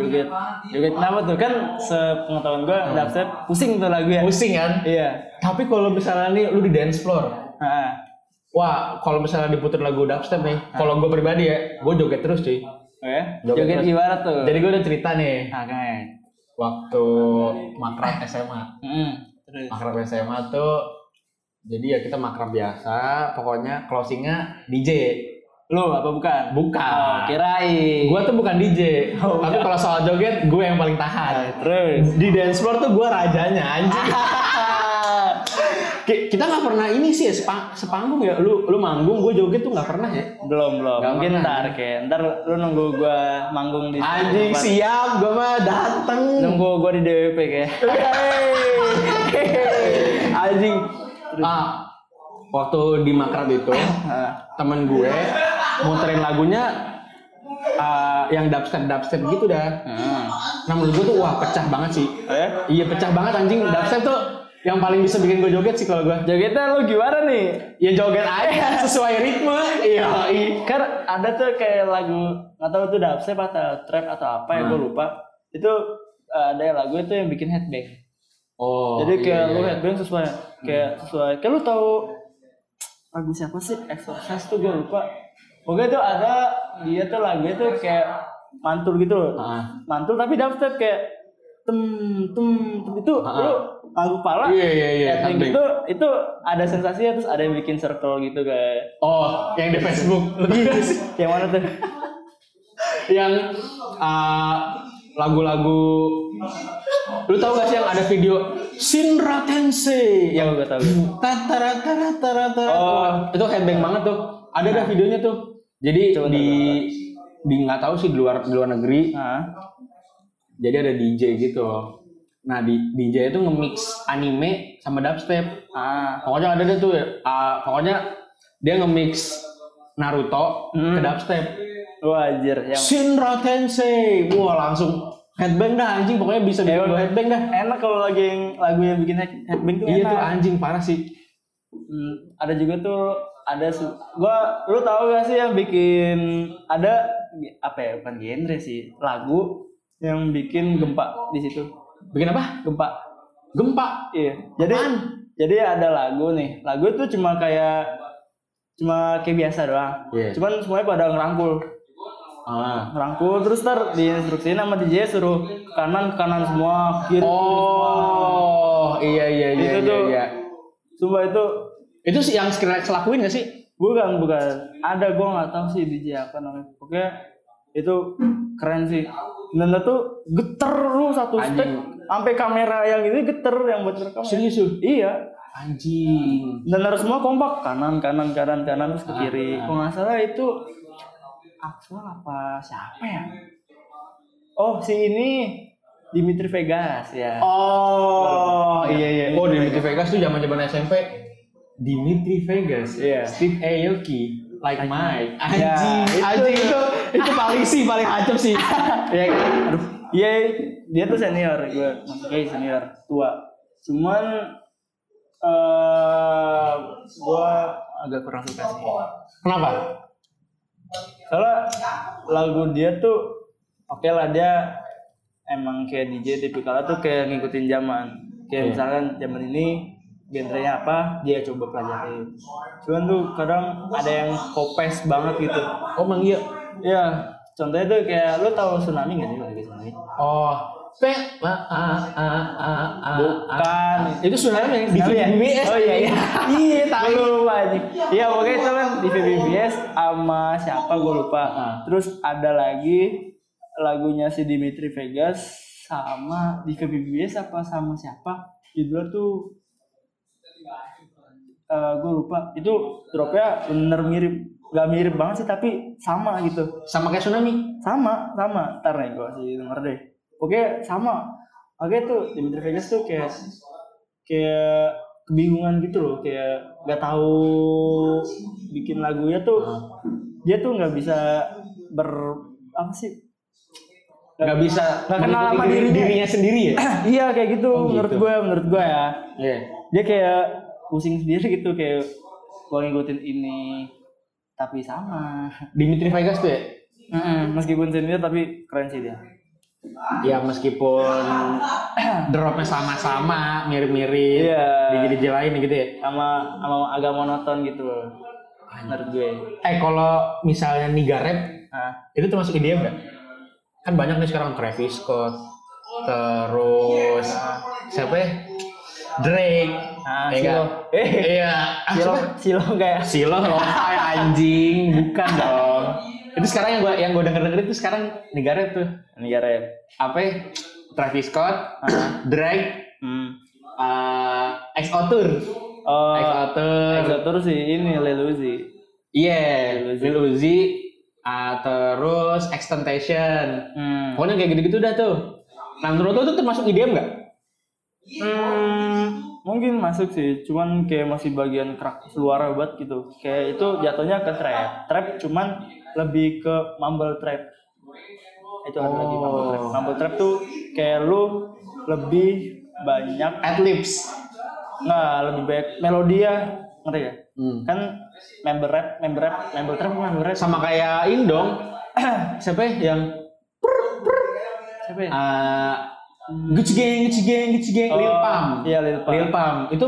joget joget kenapa tuh kan sepengetahuan gue dubstep pusing tuh lagu ya Pusing kan? iya Tapi kalau misalnya nih lu di dance floor, ah wah kalau misalnya diputer lagu dubstep nih, kalau gue pribadi ya, gue joget terus cuy. oh ya Joget joget terus. gimana tuh Jadi gue udah cerita nih ah kan waktu makrab SMA. hmm. terus Makrab SMA tuh jadi ya kita makrab biasa, pokoknya closingnya DJ. lo apa bukan Bukan. oh, kirain Gue tuh bukan DJ, Oh, tapi kalau soal joget gue yang paling tahan. Ah. terus iya. Nah, Di dance floor tuh gue rajanya anjing. *laughs* *laughs* Ki- kita nggak pernah ini sih sepa- sepanggung ya. Lu lu manggung, gue joget tuh nggak pernah ya. belum belum Gak mungkin pernah. ntar Ken ntar lu nunggu gua manggung di Anjing depan. siap, gue mah dateng. nunggu gua di DWP kayak *laughs* anjing. Ah, waktu di makrab itu Ah. temen gue muterin lagunya ah, yang dubstep dubstep gitu dah. Nah menurut gue tuh wah pecah banget sih. eh Iya pecah banget anjing dubstep tuh yang paling bisa bikin gue joget sih kalau gue. jogetnya lu gimana nih Ya joget aja sesuai ritme. Iya. iya. kan ada tuh kayak lagu nggak tahu tuh dubstep atau trap atau apa ya Hmm. gua lupa itu eh, ada lagu itu yang bikin headbang Oh. jadi kayak iya, lu iya. headbang sesuai kayak sesuai kayak lu tahu lagu siapa sih Exorcist tuh gua lupa pokoknya tuh ada dia tuh lagunya tuh kayak mantul gitu loh Ah. mantul tapi dubstep kayak tem tem, tem. itu Ah. lu lagu pala Iya iya iya. headbang headbang. gitu itu ada sensasinya terus ada yang bikin circle gitu kayak Oh yang di *laughs* Facebook. yang mana *laughs* tuh yang ah, lagu-lagu lu tau gak sih yang ada video Shinra Tensei yang yang gue tahu tatara tatara tatara Oh. Nah. itu headbang banget tuh ada dah videonya tuh jadi Coba di di nggak tahu sih di luar di luar negeri Hah? jadi ada DJ gitu nah di DJ itu nge-mix anime sama dubstep ah pokoknya ada deh tuh ah, pokoknya dia nge-mix Naruto Hmm. ke dubstep wajar yang Shinra Tensei wah langsung headbang dah anjing pokoknya bisa bikin gua headbang dah enak kalau lagi yang lagu yang bikin head- headbang tuh iya enak tuh anjing parah sih Hmm, ada juga tuh ada se- gua lu tahu gak sih yang bikin ada apa ya bukan genre sih lagu yang bikin gempa di situ bikin apa gempa gempa Iya. Jadi jadi ada lagu nih. Lagu itu cuma kayak cuma kayak biasa doang. Iya. Cuman semuanya pada ngerangkul. ah. Ngerangkul terus ntar diinstruksiin sama DJ suruh ke kanan ke kanan semua, ke kiri ke kiri semua. oh iya iya iya Itu iya, tuh. iya. Sumpah itu itu sih yang Skrillex lakuin gak sih bukan bukan ada gua nggak tahu sih DJ apa namanya. Pokoknya itu keren sih. Dan tuh geter lu satu stick sampai kamera yang ini geter yang buat rekam. serius tuh Iya, anjing dan harus semua kompak kanan kanan kanan kanan terus Ah, ke kiri kalau nggak salah itu Axel apa siapa ya oh si ini Dimitri Vegas ya oh iya iya iya. oh Dimitri Vegas tuh zaman zaman SMP Dimitri Vegas Iya. Steve Aoki like Mike Ya, anjing itu. anjing itu itu paling sih paling acem *laughs* sih ya kan aduh iya dia tuh senior gue maksudnya senior tua cuman eh gue agak kurang suka sih kenapa soalnya lagu dia tuh oke lah dia emang kayak DJ tipikalnya tuh kayak ngikutin zaman kayak misalkan zaman ini genrenya apa dia coba pelajari cuman tuh kadang ada yang kopes banget gitu Oh, emang iya. ya contohnya tuh kayak lu tahu tsunami gak sih lagi tsunami Oh, pe ma a a a a. bukan Itu sebenarnya yang di Tsunami ya? BBS. oh iya iya Iya, Aku tahu. lupa anjing. Iya pokoknya itu kan di VBBS sama siapa gue lupa. Nah, Ah. Terus ada lagi lagunya si Dimitri Vegas sama di VBBS apa sama siapa? Judulnya tuh gue lupa. Itu dropnya bener mirip, gak mirip banget sih tapi sama gitu. Sama kayak tsunami. Sama, sama. Ntar nih gue sih denger deh. Oke sama. Oke tuh Dimitri Vegas tuh kayak kayak kebingungan gitu loh kayak nggak tahu bikin lagunya tuh dia tuh nggak bisa ber apa sih nggak bisa Nggak kenal sama mengikuti dirinya. sendiri ya *clears throat* iya kayak gitu Oh, gitu. menurut gue menurut gue ya Iya. dia kayak pusing sendiri gitu kayak gue ngikutin ini tapi sama *laughs* Dimitri Vegas tuh ya Heeh, meskipun senior tapi keren sih dia ya meskipun *coughs* dropnya sama-sama mirip-mirip Iya. di gereja lain gitu ya sama sama agak monoton gitu loh menurut gue Ah, eh kalau misalnya Nigarep Hah? itu termasuk IDM nggak? kan banyak nih sekarang Travis Scott terus siapa ya Drake Ah, ya Silo. nggak? iya Ah, silo siapa? silo ya? kayak *laughs* Silo lo-fi anjing, bukan dong. Itu sekarang yang gua yang gua denger denger itu sekarang negara tuh negara ya apa? ya? Travis *coughs* Scott, Drake, hmm. eh XO Tour, oh XO Tour, Exotur sih ini Leluzi iya, Lil Uzi. Lil Uzi, eh, terus Extentation. hmm. Pokoknya kayak gitu-gitu dah tuh. Nah menurut lo itu termasuk IDM nggak? Hmm, mungkin masuk sih cuman kayak masih bagian kerak suara banget gitu kayak itu jatuhnya ke trap trap cuman lebih ke mumble trap itu ada lagi mumble Oh. trap mumble trap tuh kayak lu lebih banyak Adlibs. nggak lebih banyak melodia ngerti ya Hmm. kan member rap member rap member trap member rap Sama kayak ini *coughs* dong. Siapa ya yang siapa ya eh Gucci Gang, Gucci Gang, Gucci Gang, Lil Oh, Pump. iya Lil Pump Lil Pam itu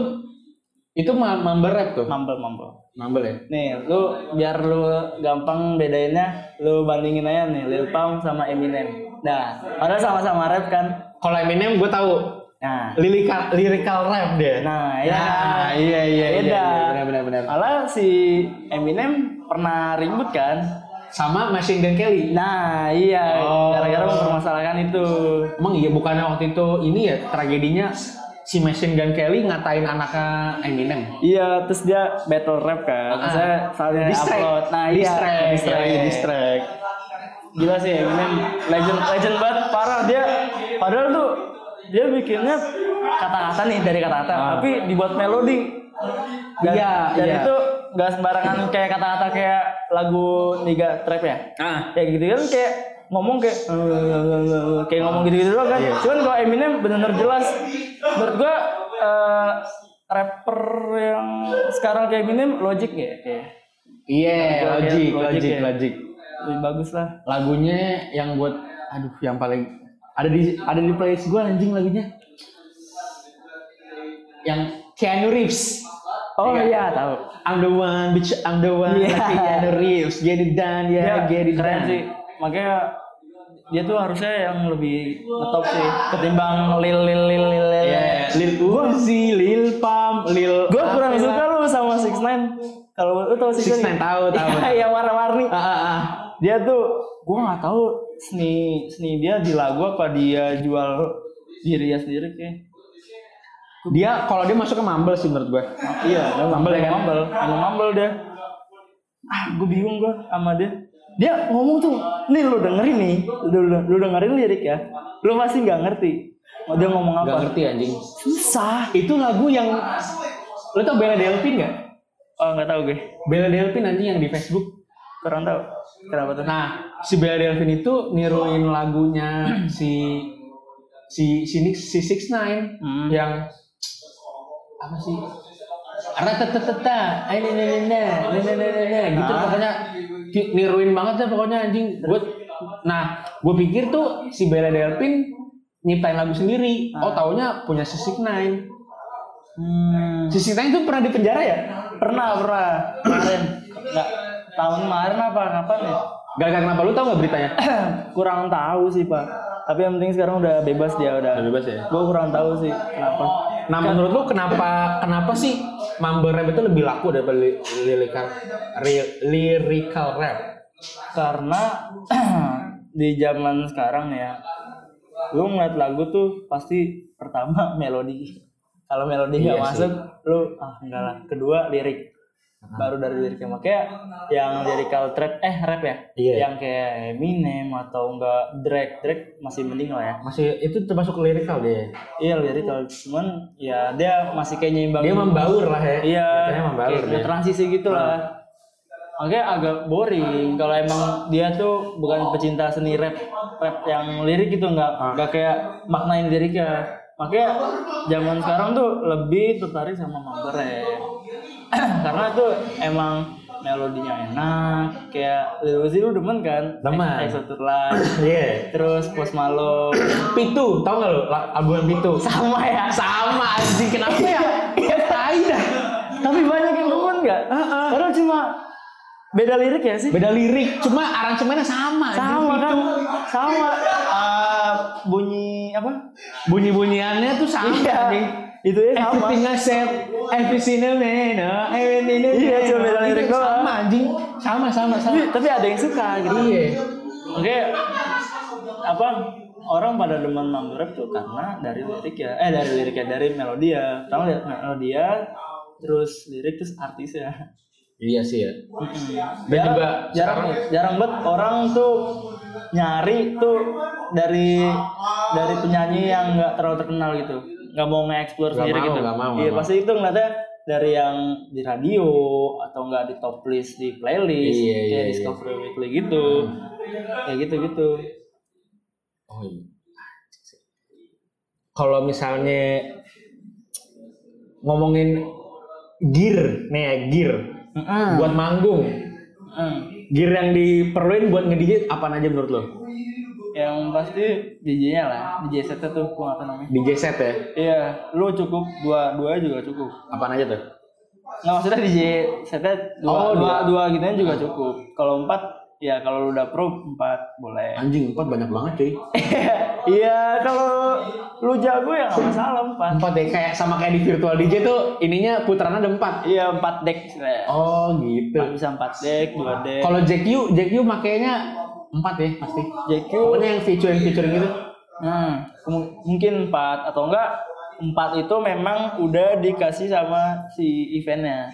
itu ma- mumble rap tuh. mumble mumble Mumble ya. Nih, lu biar lu gampang bedainnya, lu bandingin aja nih Lil Pump sama Eminem. Nah, padahal sama-sama rap kan. Kalau Eminem gue tahu Nah, lirikal lirikal rap dia. nah, Nah, iya, iya, iya, Beda. iya, benar, benar, benar. Malah si Eminem pernah ribut kan? Sama Machine Gun Kelly. Nah, iya, Oh. gara-gara mempermasalahkan itu. Emang iya bukannya waktu itu ini ya tragedinya si Machine Gun Kelly ngatain anaknya Eminem. Iya, terus dia battle rap kan. Ah. Saya saling Distract. upload. Nah, iya, Distract, iya, iya, distract. Gila sih Eminem legend legend banget parah dia. Padahal tuh dia bikinnya kata-kata nih dari kata-kata, tapi dibuat melodi. Dan, Iya, dan iya. itu nggak sembarangan kayak kata-kata kayak lagu Niga Trap ya. Ah. Kayak gitu kan kayak ngomong kayak "Eh," kayak ngomong gitu-gitu doang kan. Iya. Cuman kalau Eminem benar-benar jelas menurut gua eh, rapper yang sekarang kayak Eminem Logic ya kayak Iya, Logic, logic, logic logic, ya. logic. lebih bagus lah. Lagunya yang buat aduh yang paling ada di ada di playlist gue anjing lagunya. Yang Keanu Reeves. Oh Iya. iya tahu. I'm the one, bitch, I'm the one. Iya. Like Keanu Reeves, get it done, Dia yeah, get it Iya, keren done. sih. Makanya dia tuh harusnya yang lebih ngetop sih ketimbang lil lil lil lil lil. Yeah. Lil Uzi, Lil Pam, Lil. Gue kurang Apalah. suka lu sama Six Nine. Kalau lu tau Six 6ix9ine, tahu, tahu. Iya warna-warni. Ah, ah, ah. dia tuh gue nggak tahu seni seni dia di lagu apa dia jual dirinya sendiri kayak Dia kalau dia masuk ke mumble sih menurut gue. iya Mumble ya kan? mambel emang mambel dia ah gue bingung gue sama dia dia ngomong tuh nih lu dengerin nih lu, lu- lu dengerin lirik ya lu pasti nggak ngerti mau dia ngomong apa Gak ngerti anjing. susah Itu lagu yang lo tau Bella Delphine gak? oh nggak tahu gue Bella Delphine anjing yang di Facebook. kurang tahu kenapa tuh Nah, si Bella Delphine itu niruin lagunya *clears throat* si si si Nick- si Six Nine Hmm. yang apa sih? Ratatatata, ini ini ini ini ini ini gitu Ah. pokoknya ki- niruin banget ya pokoknya anjing. Gue, nah, gue pikir tuh si Bella Delphine nyiptain lagu sendiri. Oh, taunya punya si Six Nine. Hmm, Si Six Nine tuh pernah di penjara ya? pernah pernah kemarin nggak tahun kemarin apa kapan ya Gara-gara kenapa lu tau gak beritanya? kurang tahu sih pak tapi yang penting sekarang udah bebas dia udah bebas ya. gue kurang tahu sih kenapa Nah menurut lu kenapa kenapa sih mumble rap itu lebih laku daripada li- lirikal ri- lirikal rap? karena *clears throat* di zaman sekarang ya lu ngeliat lagu tuh pasti pertama *laughs* melodi kalau melodi Iya nggak sih. masuk lu ah enggak lah kedua lirik baru dari liriknya makanya yang lyrical trap eh rap ya Iya. yang kayak Eminem atau enggak Drake Drake masih mending lah ya Masih itu termasuk lirikal dia. iya lyrical cuman ya dia masih kayak nyimbangin Dia membaur lah ya. Iya. Katanya membaur kayak dia. transisi gitu lah. Makanya agak boring kalau emang dia tuh bukan pecinta seni rap rap yang lirik gitu nggak Ah. nggak kayak maknain liriknya makanya zaman sekarang tuh lebih tertarik sama manga rap *clears throat* karena tuh emang melodinya enak kayak Lil Uzi lu demen kan Demen. Exotic Life *clears throat* Iya. terus Post Malone Pitu, tau gak lo la- album Pitu? sama ya Sama anjing, kenapa ya? Ya tai dah. tapi banyak yang demen nggak karena cuma beda lirik ya sih Beda lirik, cuma aransemennya sama. anjing. sama kan sama Eh, bunyi apa Bunyi-bunyiannya tuh sama. anjing. Iya. itu ya sama Everything I said, everything I made, uh, everything I Iya, did, cuma beda uh, lirik itu doang. Iya, Sama anjing, sama sama sama. tapi, tapi ada yang suka gitu Iya. oke apa orang pada demen mangga rap tuh karena dari lirik ya eh dari lirik ya dari melodi ya pertama lihat melodi ya terus lirik terus artis ya Iya sih ya. Dan jarang, juga jarang, sekarang jarang banget orang tuh nyari tuh dari dari penyanyi yang nggak terlalu terkenal gitu nggak mau Nggak nge-explore sendiri mau, gitu nggak mau, iya nggak pasti itu ngeliatnya dari yang di radio atau nggak di top list di playlist Iya, kayak iya, Hmm. iya. Discovery Weekly gitu kayak gitu gitu Oh iya. Kalau misalnya ngomongin gear nih ya, gear buat manggung, Hmm. gear yang diperluin buat nge-DJ apa aja menurut lo? yang pasti DJ-nya lah DJ setnya tuh gua nggak tahu namanya DJ set ya? iya lu cukup dua dua juga cukup Apa aja tuh? Nggak Nah, maksudnya DJ setnya dua, Oh, dua, dua, gitu juga cukup. Kalau empat, ya kalau lu udah pro empat boleh. *laughs* Anjing, empat banyak banget cuy. Iya kalau lu jago ya nggak masalah empat. Empat ya, kayak sama kayak di virtual DJ tuh ininya putarannya ada empat. Iya empat deck istilahnya. Oh gitu. Bisa empat deck, dua deck. Kalau JQ, JQ makainya empat ya pasti. JQ, Pokoknya yang featuring featuring gitu. nah kemu- mungkin empat atau enggak empat itu memang udah dikasih sama si eventnya.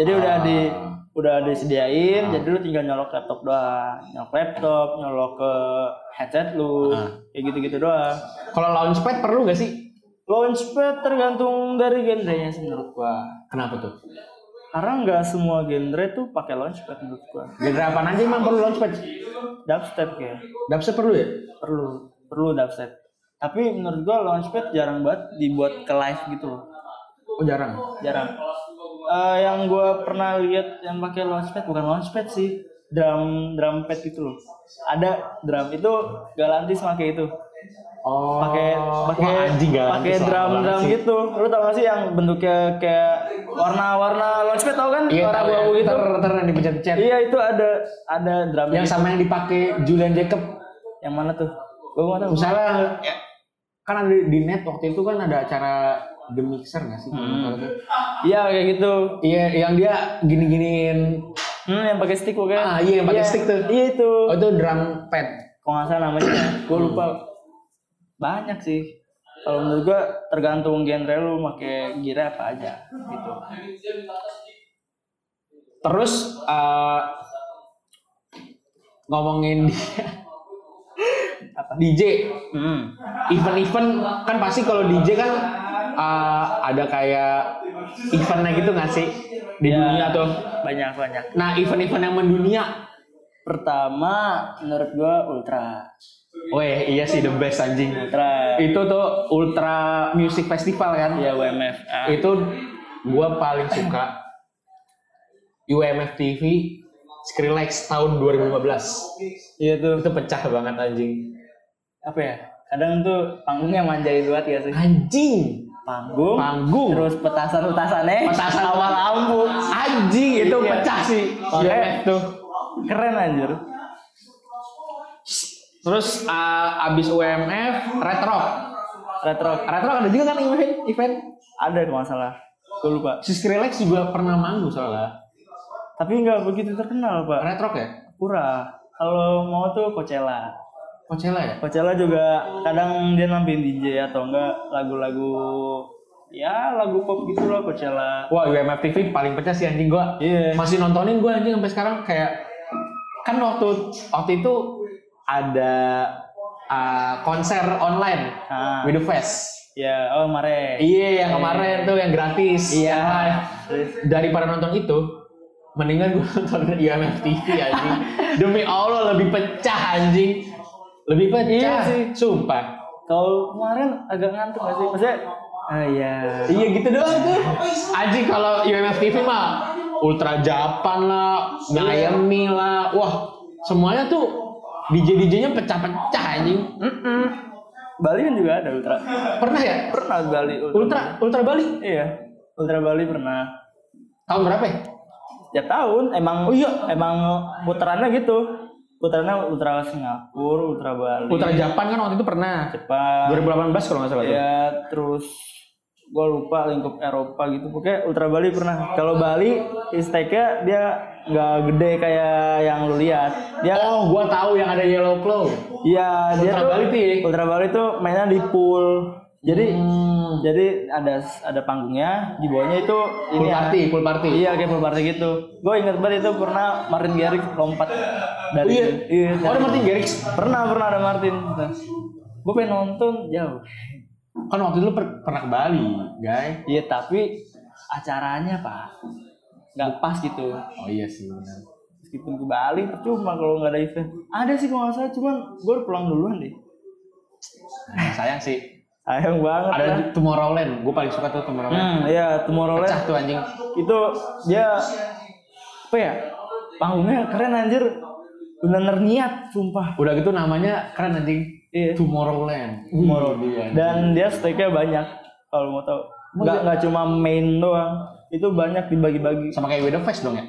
Jadi udah di Ah. udah disediain, jadi lu tinggal nyolok laptop doang, nyolok laptop, nyolok ke headset lu, Ah. kayak gitu-gitu doang. Kalau launchpad perlu gak sih? Launchpad tergantung dari genrenya sih menurut gua. Kenapa tuh? Karena nggak semua genre tuh pakai launchpad menurut gua. Genre apa aja emang perlu launchpad? Dubstep kayak Dubstep perlu ya? perlu perlu dubstep. Tapi menurut gua launchpad jarang banget dibuat ke live gitu loh. Oh jarang. Jarang. Eh, yang gua pernah lihat yang pakai launchpad bukan launchpad sih, drum drum pad gitu loh. Ada drum itu Galantis pakai itu. Oh. pakai pakai Wah, anjing kan, gak pakai drum drum gitu lu tau gak sih yang bentuknya kayak warna warna launchpad tau kan Iya, warna tahu ya. abu gitu Ter ter yang dipencet-pencet. iya itu ada ada drum gitu. Yang sama yang dipakai Julian Jacob. yang mana tuh gua gak tau Misalnya Iya. kan ada di net waktu itu kan ada acara The Mixer nggak sih? Hmm. kalau nggak salah tuh? iya kayak gitu Iya, yang dia gini-giniin. hmm, yang pakai stick bukan Ah, iya, yang pakai stick tuh. iya itu Oh itu drum pad. kok nggak salah namanya gua lupa banyak sih kalau menurut gua tergantung genre lu pakai gira apa aja gitu Terus eh, ngomongin DJ, hmm. event-event kan pasti kalau DJ kan uh, ada kayak eventnya gitu nggak sih di Ya. dunia tuh. banyak banyak Nah event-event yang mendunia, pertama menurut gua ultra weh iya sih the best anjing. ultra Itu tuh Ultra Music Festival kan. Iya WMF. Ah, Itu gua paling suka UMF TV Skrillex tahun 2015. Iya tuh Itu pecah banget anjing. apa ya? Kadang tuh panggungnya manjain banget ya sih. Anjing. Panggung, Panggung. terus petasan-petasannya. Petasan. awal lampu. Anjing itu Iya. pecah sih. Iya. Makanya- UMF tuh. Iya, Keren anjir. Terus uh, abis UMF retro. Retro Retro ada juga kan event event. ada kalau nggak salah. Gue lupa. Si Skrillex juga pernah manggung soalnya. Tapi nggak begitu terkenal pak. Retro ya? Pura. Kalau mau tuh Coachella. Coachella ya? Coachella juga kadang dia nampilin DJ atau enggak lagu-lagu ya lagu pop gitu loh Coachella. Wah UMF TV paling pecah sih anjing gua. Iya. Masih nontonin gua anjing sampai sekarang kayak kan waktu waktu itu ada uh, konser online Ah. with the fest. Ya, oh Mare. Iya yang kemarin tuh yang gratis. Iya. yang live. Terus Daripada nonton itu, mendingan gue *laughs* nonton IMF TV *laughs* anjing demi Allah lebih pecah anjing lebih pecah Iya sih. sumpah Kalau kemarin agak ngantuk gak sih? Maksudnya Ah iya. iya gitu doang tuh anjing kalau IMF TV mah Ultra Japan lah Miami lah wah semuanya tuh DJ DJ nya pecah-pecah anjing Mm-mm. Bali kan juga ada ultra. pernah ya Pernah Bali ultra. Ultra Ultra Bali Iya. Ultra Bali pernah. tahun berapa ya? Ya tahun emang Oh iya. emang putarannya gitu. Putarannya ultra Singapura, ultra Bali, Ultra Japan kan waktu itu pernah Jepang. 2018 kalau nggak salah tuh Ya terus gue lupa lingkup Eropa gitu pokoknya Ultra Bali pernah kalau Bali isteknya dia nggak gede kayak yang lu lihat dia oh gua tahu yang ada Yellow Claw Iya, dia Ultra tuh Bali tuh ya? Ultra Bali tuh mainnya di pool. Jadi Hmm. jadi ada ada panggungnya, di bawahnya itu Full ini ya. party, full party. Iya, kayak pool party gitu. Gue inget banget itu pernah Martin Garrix lompat dari Iya. iya Oh, ada dari- Martin Garrix. Pernah, pernah ada Martin. Gue pengen nonton ya. jauh. Kan waktu itu lu per- pernah ke Bali, guys. Iya, tapi acaranya, Pak. Nggak pas gitu. Oh iya sih benar. Meskipun ke Bali, percuma kalau nggak ada event. Ada sih kalau nggak salah, cuman gue pulang duluan deh. Nah, sayang sih. Sayang banget. lah. Ada Tomorrowland. Gue paling suka tuh Tomorrowland. Hmm, ya Tomorrowland Pecah tuh anjing. itu dia apa ya panggungnya keren anjir bener-bener niat sumpah Udah gitu namanya keren anjing. iya Tomorrowland. Tomorrowland dan dia stake-nya banyak kalau mau tahu nggak nggak cuma main doang itu banyak dibagi-bagi sama kayak Weather Fest dong ya.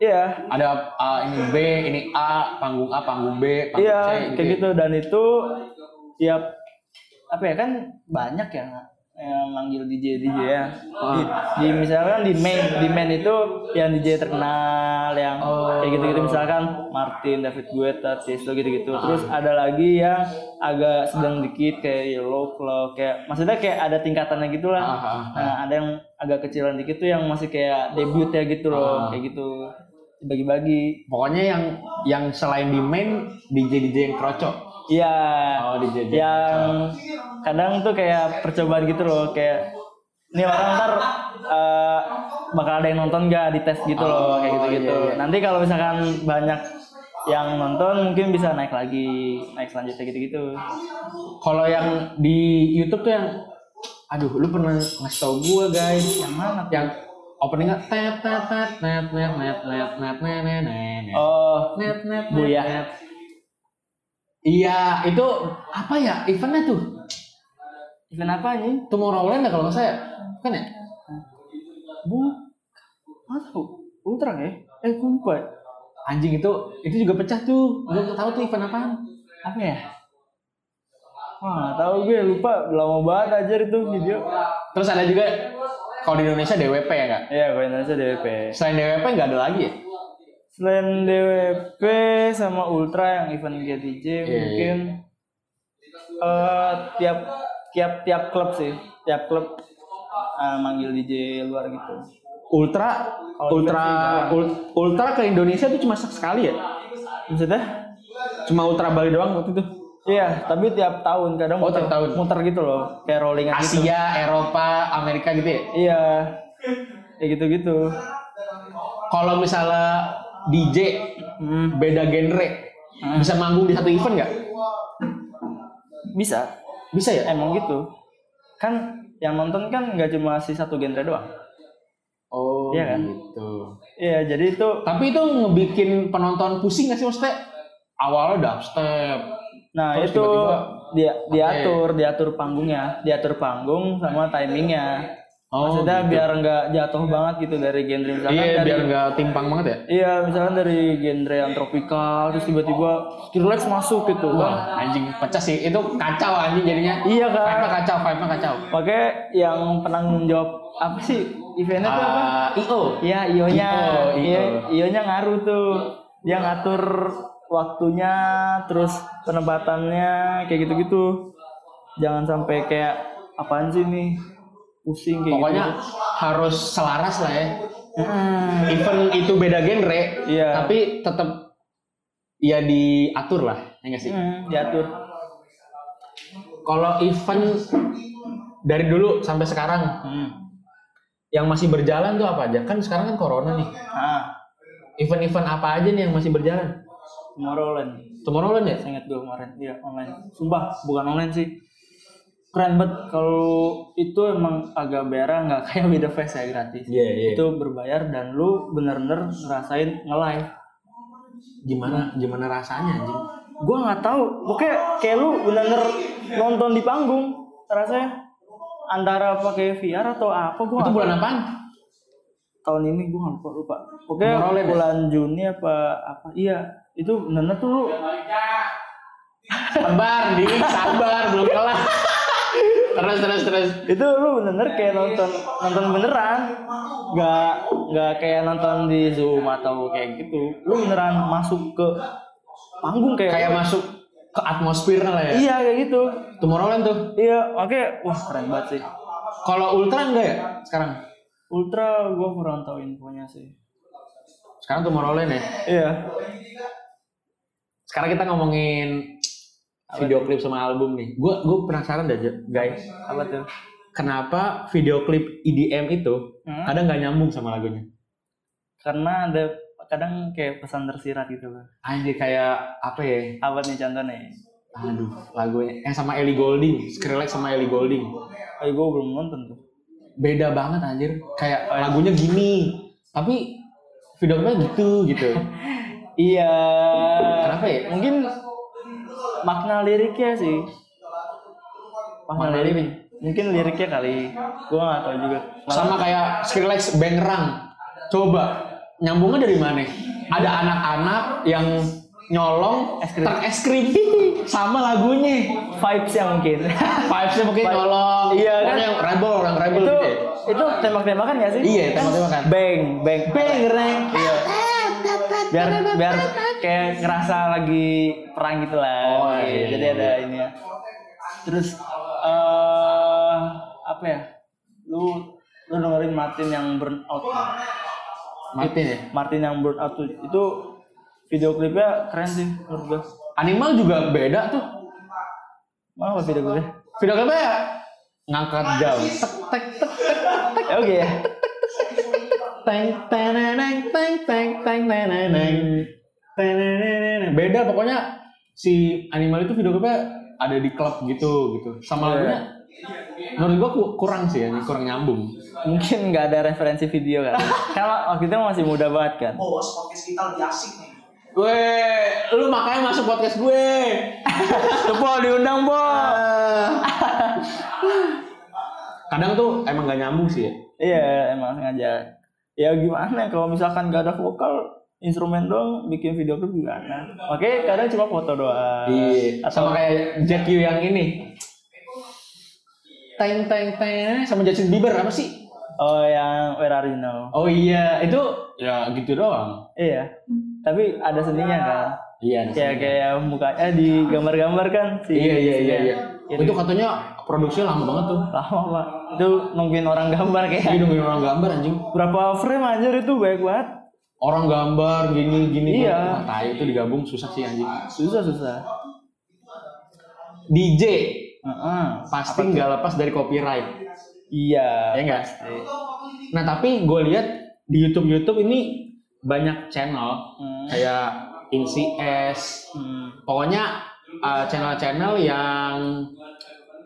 iya Ada uh, ini B, ini A, panggung A, panggung B, panggung C iya ya. kayak gitu dan itu tiap apa ya kan banyak ya yang manggil DJ DJ ya di, di misalkan di main di main itu yang DJ terkenal yang Oh. kayak gitu gitu misalkan Martin David Guetta Tiesto gitu gitu Ah. terus ada lagi yang agak sedang dikit kayak Yellow Claw kayak maksudnya kayak ada tingkatannya gitulah Ah, ah, ah. nah ada yang agak kecilan dikit tuh yang masih kayak debut ya Ah. gitu loh kayak gitu dibagi-bagi Pokoknya yang yang selain di main DJ DJ yang kroco. Iya. Oh, dijajah. Yang kadang tuh kayak percobaan gitu loh, kayak ini orang ntar eh, bakal ada yang nonton gak di tes gitu loh, kayak gitu-gitu. iya, iya. Nanti kalau misalkan banyak yang nonton mungkin bisa naik lagi, naik selanjutnya gitu-gitu. Kalau yang di YouTube tuh yang aduh lu pernah ngasih tau gue guys Yang mana? tuh? yang openingnya tet tet tet net net net net net net net net net Oh, net net Bu, ya. net. iya itu apa ya eventnya tuh event apa nih? Tomorrowland ya kalau nggak saya kan ya Bu, nggak tahu. Ultra ya? Eh, gue lupa. anjing itu itu juga pecah tuh gue nggak tahu tuh event apaan Apa ya? Wah, nggak tahu gue lupa. Lama banget aja itu video. terus ada juga kalau di Indonesia DWP ya nggak Iya, gue Indonesia DWP. selain DWP nggak ada lagi ya selain DWP sama Ultra yang event GTJ Iya, mungkin eh, tiap tiap tiap klub sih tiap klub eh, manggil DJ luar gitu Ultra Ultra ul- Ultra ke Indonesia tuh cuma sek- sekali ya maksudnya cuma Ultra Bali doang waktu itu iya tapi tiap tahun kadang Oh, muter, tiap tahun. muter gitu loh kayak rolling gitu Asia Eropa Amerika gitu ya iya kayak gitu gitu kalau misalnya DJ Hmm. beda genre bisa manggung di satu event nggak? bisa Bisa ya? emang gitu kan yang nonton kan nggak cuma si satu genre doang Oh Iya kan? gitu. iya jadi itu Tapi itu ngebikin penonton pusing nggak sih maksudnya? Awalnya dubstep. Nah Terus itu tiba-tiba, dia diatur diatur panggungnya, diatur panggung sama timingnya. Oh, Maksudnya gitu. biar nggak jatuh banget gitu dari genre misalkan Iya dari biar nggak timpang banget ya. iya misalkan dari genre yang tropikal terus tiba-tiba relax masuk gitu kan. Wah anjing pecah sih itu kacau anjing jadinya. Iya Vibe-nya kan. kacau, vibe-nya kacau. Pakai yang penanggung jawab apa sih eventnya tuh apa? Ah, IO. Iya ionya, Io, Io. Iya, ionya ngaruh tuh. Dia ngatur waktunya, terus penempatannya kayak gitu-gitu. Jangan sampai kayak apaan sih nih pusing kayak Pokoknya gitu. harus selaras lah ya. Hmm, Event itu beda genre, Iya. tapi tetap ya diatur lah, ya nggak sih? hmm, diatur. Kalau event dari dulu sampai sekarang Hmm. yang masih berjalan tuh apa aja? Kan sekarang kan corona nih. Ah, event-event apa aja nih yang masih berjalan? Tomorrowland. Tomorrowland ya? Saya ingat gue kemarin. Iya, online. Sumpah, bukan online sih. Keren banget kalau itu emang agak berah nggak kayak beda fest ya gratis. Iya, iya. Itu berbayar dan lu bener-bener ngerasain nge-live. Gimana gimana rasanya anjing? Gua nggak tahu. Pokoknya kayak lu bener-bener nonton di panggung rasanya antara pakai VR atau apa Itu gua nggak bulan tahu. apaan? tahun ini gua nggak lupa lupa pokoknya Tomorrowland ya? bulan Juni apa apa iya itu bener-bener tuh lu Sabar, Dik, sabar, belum kelar. terus terus terus. itu lu bener-bener kayak nonton nonton beneran nggak nggak kayak nonton di zoom atau kayak gitu lu beneran masuk ke panggung kayak Kayak masuk ke atmosfernya lah ya. iya kayak gitu Tomorrowland tuh. iya oke wah keren banget sih Kalau ultra enggak ya sekarang? ultra gua kurang tahu infonya sih Sekarang Tomorrowland ya. iya Sekarang kita ngomongin video klip sama album nih. Gua gua penasaran dah, Jo- guys. apa tuh Kenapa video klip EDM itu Hmm? kadang nggak nyambung sama lagunya? karena ada kadang kayak pesan tersirat gitu Bang. Anjir kayak apa ya? apa nih contohnya Aduh, lagunya yang sama Ellie Goulding, Skrillex sama Ellie Goulding. eh gua belum nonton tuh Beda banget anjir. Kayak lagunya gini, tapi video klipnya gitu *laughs* gitu. iya Kenapa ya? mungkin makna liriknya sih makna, Makna lirik. lirik. mungkin liriknya kali gua nggak tahu juga sama kayak Skrillex Bangerang. Coba nyambungnya dari mana? Ada anak-anak yang nyolong Es es krim. krim. es krim *laughs* sama lagunya. vibes ya mungkin *laughs* Vibes-nya mungkin Vibe- nyolong. Iya, kan? Orang yang rebel, orang rebel itu gitu. ya. itu tembak-tembakan ya sih Iya, tembak-tembakan. bang bang Bangerang. iya biar biar kayak ngerasa lagi perang gitu lah Oh, Iya, iya, jadi iya, ada ini ya terus eh apa ya lu lu dengerin Martin yang burn out Martin ya. Martin yang burn out tuh itu video klipnya keren sih menurut gue Animal juga beda tuh. mana apa video klipnya Video klipnya ngangkat jam. Tek tek tek tek Ya, oke ya teng teneneng teng teng teng neneneng teneneneng. Beda pokoknya si animal itu video klipnya ada di klub gitu gitu. Sama lagunya menurut gua ku- kurang sih ya, kurang nyambung. mungkin nggak ada referensi video kan kalau waktu itu masih muda banget kan Bos, podcast kita lebih asik nih. Weh, lu makanya masuk podcast gue. Tuh, Bo, diundang Bo. Kadang tuh emang gak nyambung sih ya. iya emang sengaja ya gimana kalau misalkan gak ada vokal instrumen doang bikin video klip gimana oke kadang cuma foto doang Iya. atau Sama kayak Jack Yu yang ini. Teng teng teng sama Justin Bieber apa sih? oh yang where are you now Oh iya, itu ya gitu doang. iya tapi ada seninya kan Iya. kayak kayak mukanya di gambar-gambar kan si Iya iya iya iya. Iya. Itu katanya produksinya lama banget tuh. lama pak itu nungguin orang gambar Ini kayak nungguin orang gambar anjing. berapa frame anjir itu banyak banget Orang gambar gini gini. Iya. Wah, tai, itu digabung susah sih anjing. susah susah DJ Heeh. pasti nggak lepas dari copyright. iya Ya enggak? pasti. Nah tapi gue lihat di YouTube YouTube ini banyak channel Hmm. kayak InCS, Hmm. pokoknya uh, channel-channel yang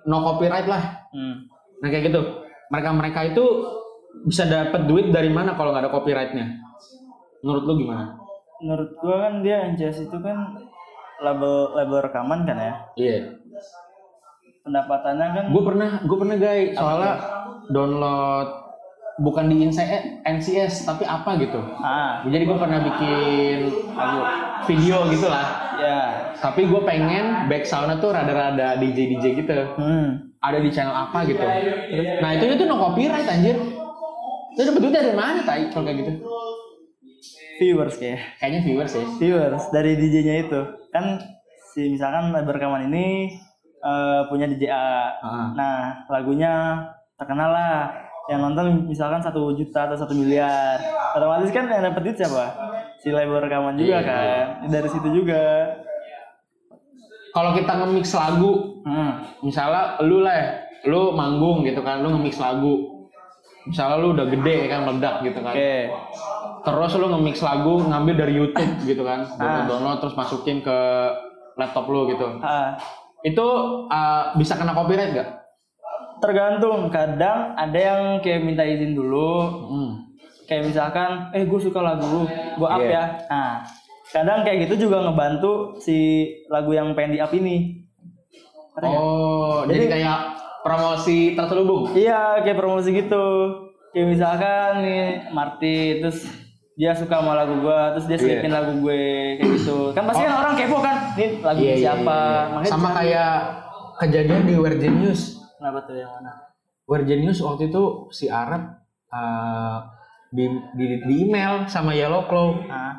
no copyright lah Hmm. nah kayak gitu mereka-mereka itu bisa dapat duit dari mana kalau nggak ada copyrightnya menurut lu gimana menurut gua kan dia NCS itu kan label label rekaman kan ya iya pendapatannya kan gue pernah gue pernah guys soalnya download bukan di NCS, NCS tapi apa gitu ah jadi gue pernah bikin lagu video gitu lah ya tapi gue pengen back soundnya tuh rada-rada DJ DJ gitu hmm ada di channel apa gitu. Nah itu itu no copyright anjir. Itu dapat duit dari mana tai kalau kayak gitu? viewers kayak Kayaknya viewers ya. viewers dari DJ-nya itu kan si misalkan label rekaman ini eh, punya DJ A Ah. nah lagunya terkenal lah yang nonton misalkan satu juta atau satu miliar otomatis kan yang dapet duit siapa si label rekaman juga Iya, kan dari situ juga Kalau kita nge-mix lagu, hmm. misalnya lu lah, lu manggung gitu kan, lu nge-mix lagu. Misalnya lu udah gede kan meledak gitu kan. oke terus lu nge-mix lagu ngambil dari YouTube Ah. gitu kan download download terus masukin ke laptop lu gitu Ah, itu uh, bisa kena copyright gak? tergantung kadang ada yang kayak minta izin dulu Hmm. kayak misalkan eh gue suka lagu lu gue up Iya. ya nah kadang kayak gitu juga ngebantu si lagu yang pengen di up ini Ngerti nggak? Oh, jadi, Jadi- kayak promosi terselubung. Iya, kayak promosi gitu. Kayak misalkan nih Marti terus dia suka sama lagu gua, terus dia Iya. selipin lagu gue kayak gitu. Kan pasti kan orang kepo kan, nih lagu Oh. Iya, iya, siapa? iya, Makanya Sama kayak kejadian di Virgin News. kenapa tuh yang mana? Virgin News waktu itu si Arab eh, di, di, di email sama Yellow Claw. Nah,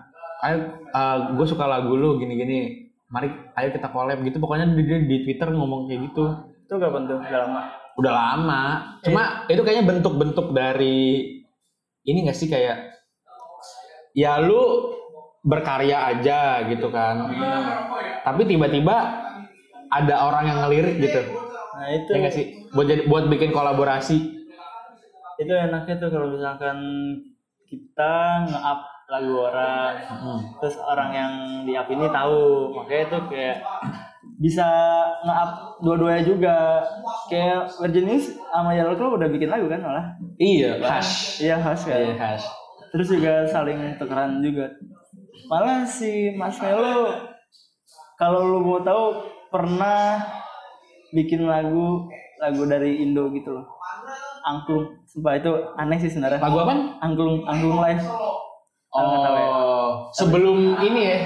Ayo, gue suka lagu lu gini-gini. Mari, ayo kita collab gitu. Pokoknya di, di, di Twitter ngomong kayak gitu. itu kapan tuh? Udah lama. Udah lama. Cuma itu kayaknya bentuk-bentuk dari ini gak sih kayak ya lu berkarya aja gitu kan. Tapi tiba-tiba ada orang yang ngelirik gitu. Nah, itu Iya Ya gak sih? Buat jadi buat bikin kolaborasi. itu enaknya tuh kalau misalkan kita nge-up lagu orang. Terus orang yang di up ini tahu. Makanya itu kayak bisa nge-up dua-duanya juga. Kayak Virgin News sama Yellow Claw udah bikin lagu kan malah. Iya, khas. Iya khas kan. Iya, khas. Terus juga saling tukeran juga. Malah si Mas Melo kalau lu mau tahu pernah bikin lagu lagu dari Indo gitu loh. Angklung. Sumpah itu aneh sih sebenarnya. Lagu apa? Angklung Angklung live. Tahu nggak tahu ya? Oh, sebelum ini ya.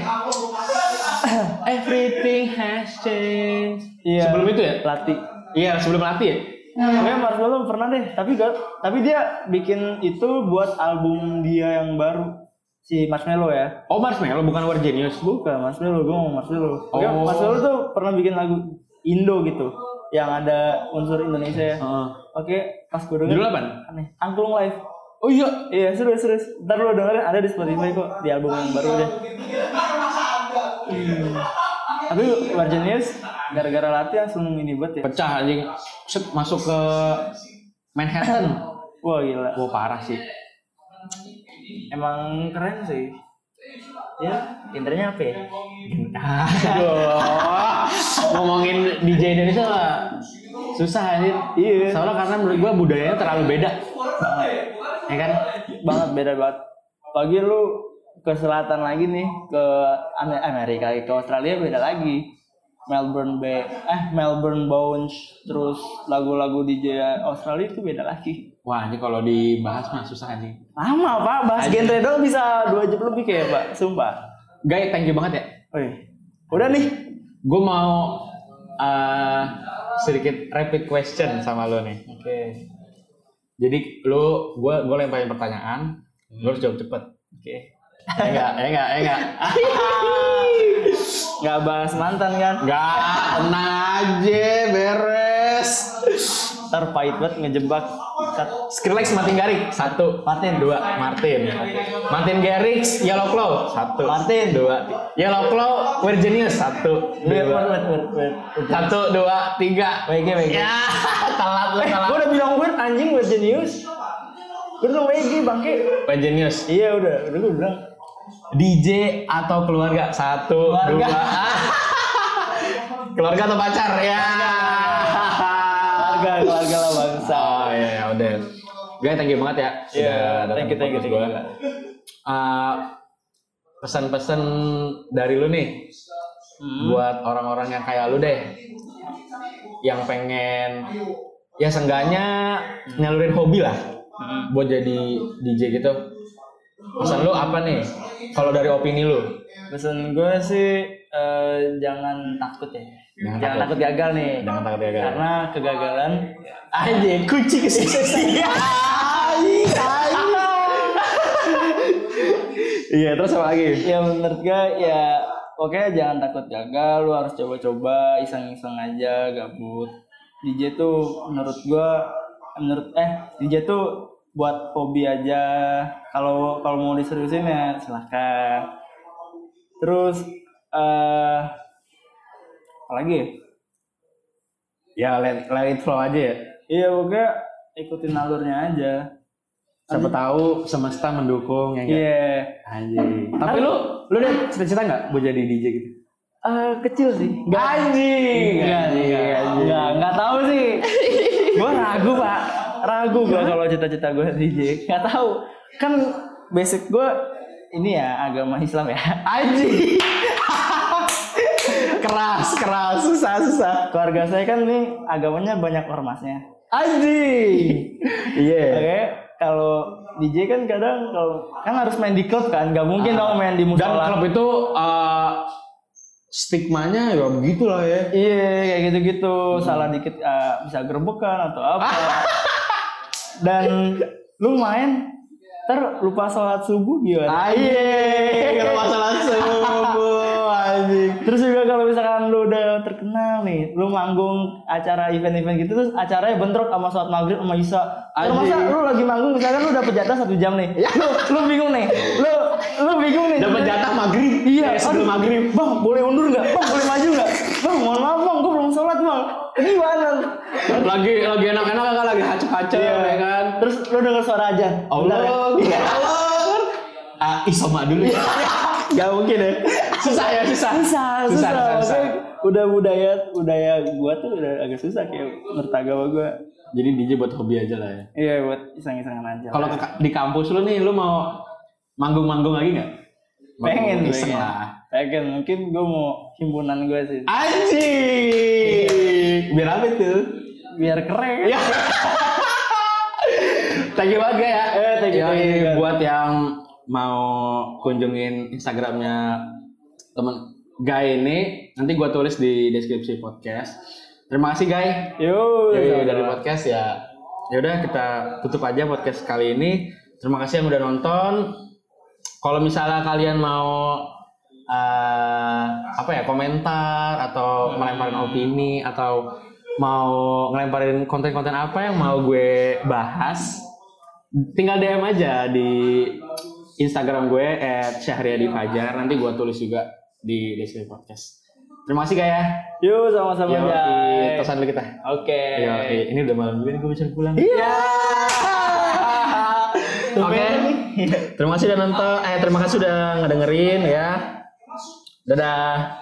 Everything has changed. Iya. Sebelum itu ya? Lati. Iya, sebelum latih ya. Sebenarnya Mas Melo pernah deh, tapi gak, tapi dia bikin itu buat album dia yang baru si Marshmello ya. Oh, Marshmallow bukan War Genius. Bukan Mas Melo, gue mau Mas Melo. Oke, Oh. Mas Melo tuh pernah bikin lagu Indo gitu, yang ada unsur Indonesia ya. Oh. Oke, pas gue denger, Judul apa? aneh. Angklung Live. Oh iya. Iya, serius, serius. Ntar lu dengerin, ada di Spotify kok, di album yang baru deh. Hmm. Tapi Warjan News, gara-gara latihan langsung ini banget ya. Pecah anjing. Set, masuk ke Manhattan. Wah gila, Wah, parah sih. emang keren sih. Ya, internya apa ya? Aduh. *laughs* Ngomongin DJ Indonesia lah. Susah anjir. Iya. Soalnya karena menurut gua budayanya terlalu beda. Ya kan? banget beda banget pagi lu ke selatan lagi nih ke Amer- Amerika ke Australia beda lagi Melbourne Bay eh Melbourne Bounce terus lagu-lagu DJ Australia itu beda lagi Wah, anjing kalau dibahas mah susah anjing. lama pak bahas genre doang bisa dua jam lebih kayak pak sumpah Guys, thank you banget ya. Wih. udah nih Gue mau eh, sedikit rapid question sama lo nih. oke Jadi lo, gue gue lemparin pertanyaan, lo harus jawab cepet. oke Ya enggak, ya enggak, ya enggak. nggak bahas mantan kan Enggak, tenang aja, beres. terpahit banget ngejebak Cut. Skrillex Martin Garrix satu, Martin. dua, Martin, Martin Garrix, Yellow Claw satu, Martin. dua, Yellow Claw, We're Genius satu, Wait, wait, dua, wait, wait, wait. satu, dua, tiga. WG, WG. Ya, telat lo, Eh, telat. gue udah bilang weird anjing weird genius. Gue udah WG bangke. We're Genius. Iya udah, udah gue bilang. DJ atau keluarga? Satu, Keluarga. dua. Ah. keluarga atau pacar? Ya. Keluarga, keluarga lah bangsa. Oh ya, ya, udah. Guys, thank you banget ya. Iya, datang thank you, ke thank you, podcast thank you. gua. Eh, pesan-pesan dari lu nih buat orang-orang yang kayak lu deh yang pengen ya seenggaknya nyalurin hobi lah buat jadi DJ gitu pesan lu apa nih kalau dari opini lu Pesan gue sih eh, jangan takut ya. Jangan, Jangan takut. gagal nih. Jangan takut ya, gagal. Karena kegagalan Anjing, kucing sih. *laughs* *laughs* Iya, terus apa lagi? ya menurut gue ya Oke, jangan takut gagal, lu harus coba-coba, iseng-iseng aja, gabut. DJ tuh menurut gua menurut eh DJ tuh buat hobi aja. Kalau kalau mau diseriusin ya silahkan. Terus eh apa lagi? ya? Ya, let, let it flow aja ya. Iya, pokoknya ikutin alurnya aja. Siapa tahu semesta mendukung ya enggak? Iya. Anjing. Tapi lu lu deh cita-cita enggak mau jadi DJ gitu? Eh, kecil sih. Enggak. Anjing. Enggak, enggak, enggak, enggak tahu *laughs* sih. gue ragu pak, ragu gue kalau cita-cita gue DJ. Enggak tahu. Kan basic gue ini ya agama Islam ya. Anjing. *laughs* Keras, keras. susah susah. Keluarga saya kan nih agamanya banyak ormasnya. *laughs* Anjing. Iya. Oke, kalau DJ kan kadang kalau kan harus main di klub kan, nggak mungkin dong main di Ah. Dan musola. klub itu eh, stigmanya ya begitulah ya. Iya, kayak gitu-gitu. Salah dikit eh, bisa gerbekan atau apa. Dan lu main ter lupa sholat subuh gimana? Anjing. Masalah *laughs* semua anjing. Terus juga kalau misalkan lu udah terkenal nih, lu manggung acara event-event gitu terus acaranya bentrok sama sholat maghrib sama isya. Terus masa Anjing. lu lagi manggung misalkan lu dapat jatah satu jam nih, lu, lu bingung nih, lu lu bingung nih. Dapat jatah maghrib. Iya, Eh, sebelum aduh. maghrib. Bang, boleh undur nggak? Bang, boleh maju nggak? Bang, mohon maaf bang, gue belum sholat bang. Ini Gimana? Lagi lagi enak-enak kan lagi hacep-hacep ya kan. Iya. Oh, Terus lu denger suara aja. ya. Allah. Iya. Ah, isoma dulu ya. Gak mungkin ya. susah ya, susah. Susah, Susah, susah. susah, susah. Maksudnya Udah budaya budaya gua tuh udah agak susah kayak menurut agama gua. Jadi DJ buat hobi aja lah ya. Iya buat iseng-isengan aja. Kalau ke- di kampus lu nih, lu mau manggung-manggung lagi nggak? Manggung pengen gue ya. iseng pengen. lah. pengen mungkin gue mau himpunan gue sih Anjing. Biar apa tuh? biar keren Ya. *laughs* Thank you banget Ga, ya. Eh, thank you, Yoi, thank you, Ga. buat yang mau kunjungin Instagramnya temen Guy ini, nanti gua tulis di deskripsi podcast. Terima kasih Guy. yo Yoi, dari podcast ya. Ya udah kita tutup aja podcast kali ini. Terima kasih yang udah nonton. Kalau misalnya kalian mau eh, apa ya komentar atau melemparin opini atau mau ngelemparin konten-konten apa yang mau gue bahas, tinggal DM aja di Instagram gue @syahriadifajar. Nanti gue tulis juga di deskripsi podcast. Terima kasih Gaya. yo sama-sama Yoi, Jai. Tosan dulu kita. oke Iya, iya. ini udah malam juga nih gue bisa pulang. iya Oke. Terima kasih udah nonton. Eh, terima kasih udah ngedengerin ya. Dadah.